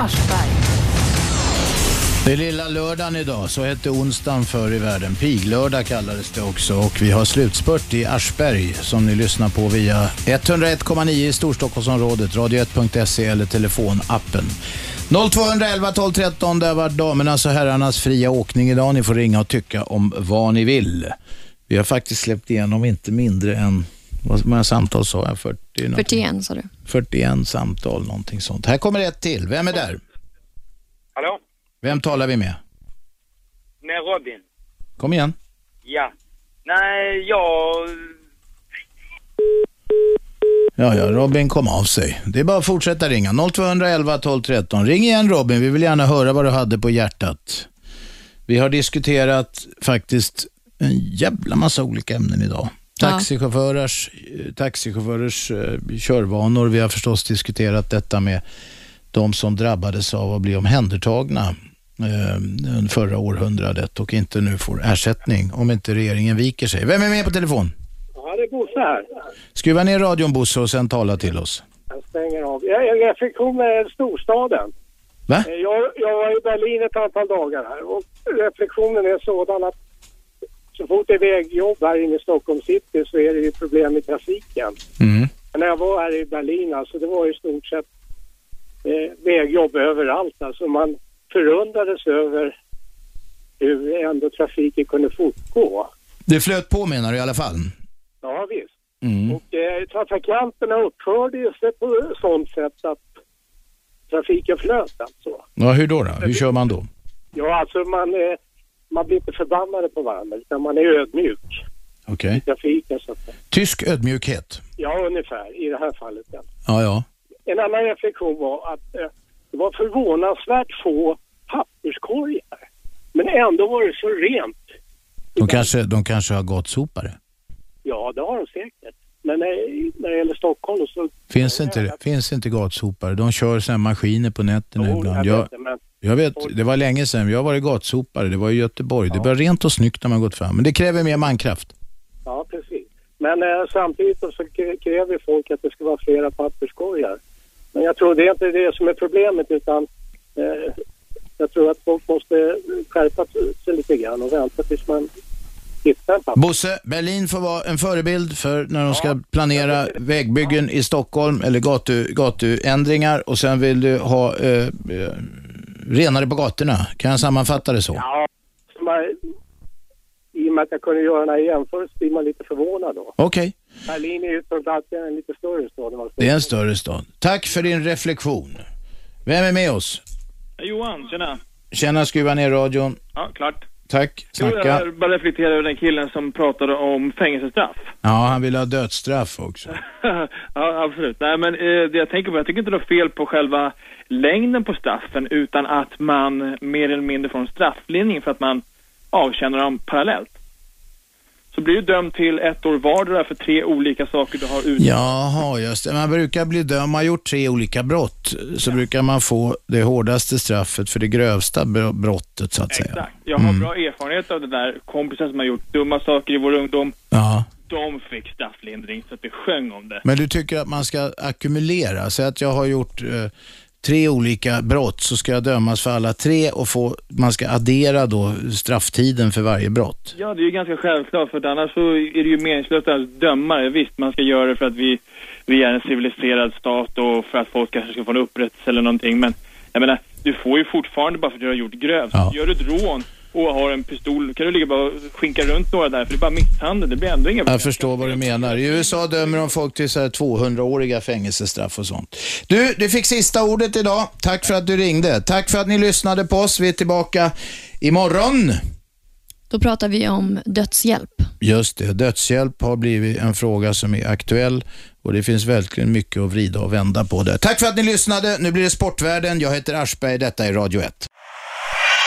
Det är lilla lördagen idag, så hette onsdagen förr i världen. Piglördag kallades det också och vi har slutspurt i Aschberg som ni lyssnar på via 101,9 i Storstockholmsområdet, radio1.se eller telefonappen. 0211 12 13, där var damernas och herrarnas fria åkning idag. Ni får ringa och tycka om vad ni vill. Vi har faktiskt släppt igenom inte mindre än, vad många samtal sa jag? 40 någonting. 41 sa du. 41 samtal, någonting sånt. Här kommer ett till. Vem är där? Hallå? Vem talar vi med? Med Robin? Kom igen. Ja. Nej, jag... Ja, ja, Robin kom av sig. Det är bara att fortsätta ringa. 0211 12 13. Ring igen Robin, vi vill gärna höra vad du hade på hjärtat. Vi har diskuterat faktiskt en jävla massa olika ämnen idag. Taxichaufförers, eh, taxichaufförers eh, körvanor. Vi har förstås diskuterat detta med de som drabbades av att bli omhändertagna eh, förra århundradet och inte nu får ersättning om inte regeringen viker sig. Vem är med på telefon? Ja, det är Bosse här. Skruva ner radion Bosse och sen tala till oss. Jag stänger av. Jag har en reflektion med storstaden. Va? Eh, Jag, jag var i Berlin ett antal dagar här och reflektionen är sådan att så fort det är vägjobb här inne i Stockholms city så är det ju problem i trafiken. Mm. Men när jag var här i Berlin alltså, det var i stort sett eh, vägjobb överallt. Alltså man förundrades över hur ändå trafiken kunde fortgå. Det flöt på menar du i alla fall? Ja, visst. Mm. Och eh, trafikanterna uppförde ju sig på sånt sätt att trafiken flöt alltså. Ja, hur då, då? Hur kör man då? Ja, alltså man, eh, man blir inte förbannade på varandra utan man är ödmjuk Okej. i trafiken. Så att, Tysk ödmjukhet. ja, ungefär i det här fallet. Ja. Ja, ja. En annan reflektion var att eh, det var förvånansvärt få papperskorgar. Men ändå var det så rent. De kanske, de kanske har gatsopare. Ja, det har de säkert. Men eh, när det gäller Stockholm så... Finns inte, det? Finns inte gatsopare? De kör såna här maskiner på nätterna ibland. Jag, inte, men jag vet, det var länge sedan. Jag var i gatsopare. Det var i Göteborg. Det var rent och snyggt när man gått fram. Men det kräver mer mankraft. Ja, precis. Men eh, samtidigt så krä- kräver folk att det ska vara flera papperskorgar. Men jag tror det är inte det som är problemet utan eh, jag tror att folk måste skärpa sig lite grann och vänta tills man hittar en papper. Bosse, Berlin får vara en förebild för när de ska planera vägbyggen i Stockholm eller gatu, gatuändringar och sen vill du ha eh, eh, renare på gatorna. Kan jag sammanfatta det så? Ja, så man, I och med att jag kunde göra den här jämförelsen blir man lite förvånad då. Okej, Berlin är ju trots allt en lite större stad än vad det är en större stad. Tack för din reflektion. Vem är med oss? Johan, tjena. Tjena, skruva ner radion. Ja, klart. Jo, Tack, snacka. jag bara reflekterar över den killen som pratade om fängelsestraff. Ja, han vill ha dödsstraff också. ja, absolut. Nej, men eh, det jag tänker på, jag tycker inte det är fel på själva längden på straffen utan att man mer eller mindre får en strafflindring för att man avtjänar dem parallellt. Så blir du dömd till ett år vardera för tre olika saker du har ut. Jaha, just det. Man brukar bli dömd, om man har gjort tre olika brott, så brukar man få det hårdaste straffet för det grövsta br- brottet så att säga. Exakt. Jag har bra erfarenhet av det där. Kompisar som har gjort dumma saker i vår ungdom, Ja. de fick strafflindring så att det sjöng om det. Men du tycker att man ska ackumulera? Säg att jag har gjort eh, tre olika brott så ska jag dömas för alla tre och få, man ska addera då strafftiden för varje brott. Ja, det är ju ganska självklart för att annars så är det ju meningslöst att döma det. Visst, man ska göra det för att vi, vi är en civiliserad stat och för att folk kanske ska få en upprättelse eller någonting. Men jag menar, du får ju fortfarande bara för att du har gjort grövst. Gör du ett rån och har en pistol kan du ligga bara och skinka runt några där för det är bara misshandel. Det blir ändå inga Jag förstår vad du menar. I USA dömer de folk till så här 200-åriga fängelsestraff och sånt. Du, du fick sista ordet idag. Tack för att du ringde. Tack för att ni lyssnade på oss. Vi är tillbaka imorgon. Då pratar vi om dödshjälp. Just det, dödshjälp har blivit en fråga som är aktuell och det finns verkligen mycket att vrida och vända på där. Tack för att ni lyssnade. Nu blir det Sportvärlden. Jag heter Aschberg. Detta är Radio 1.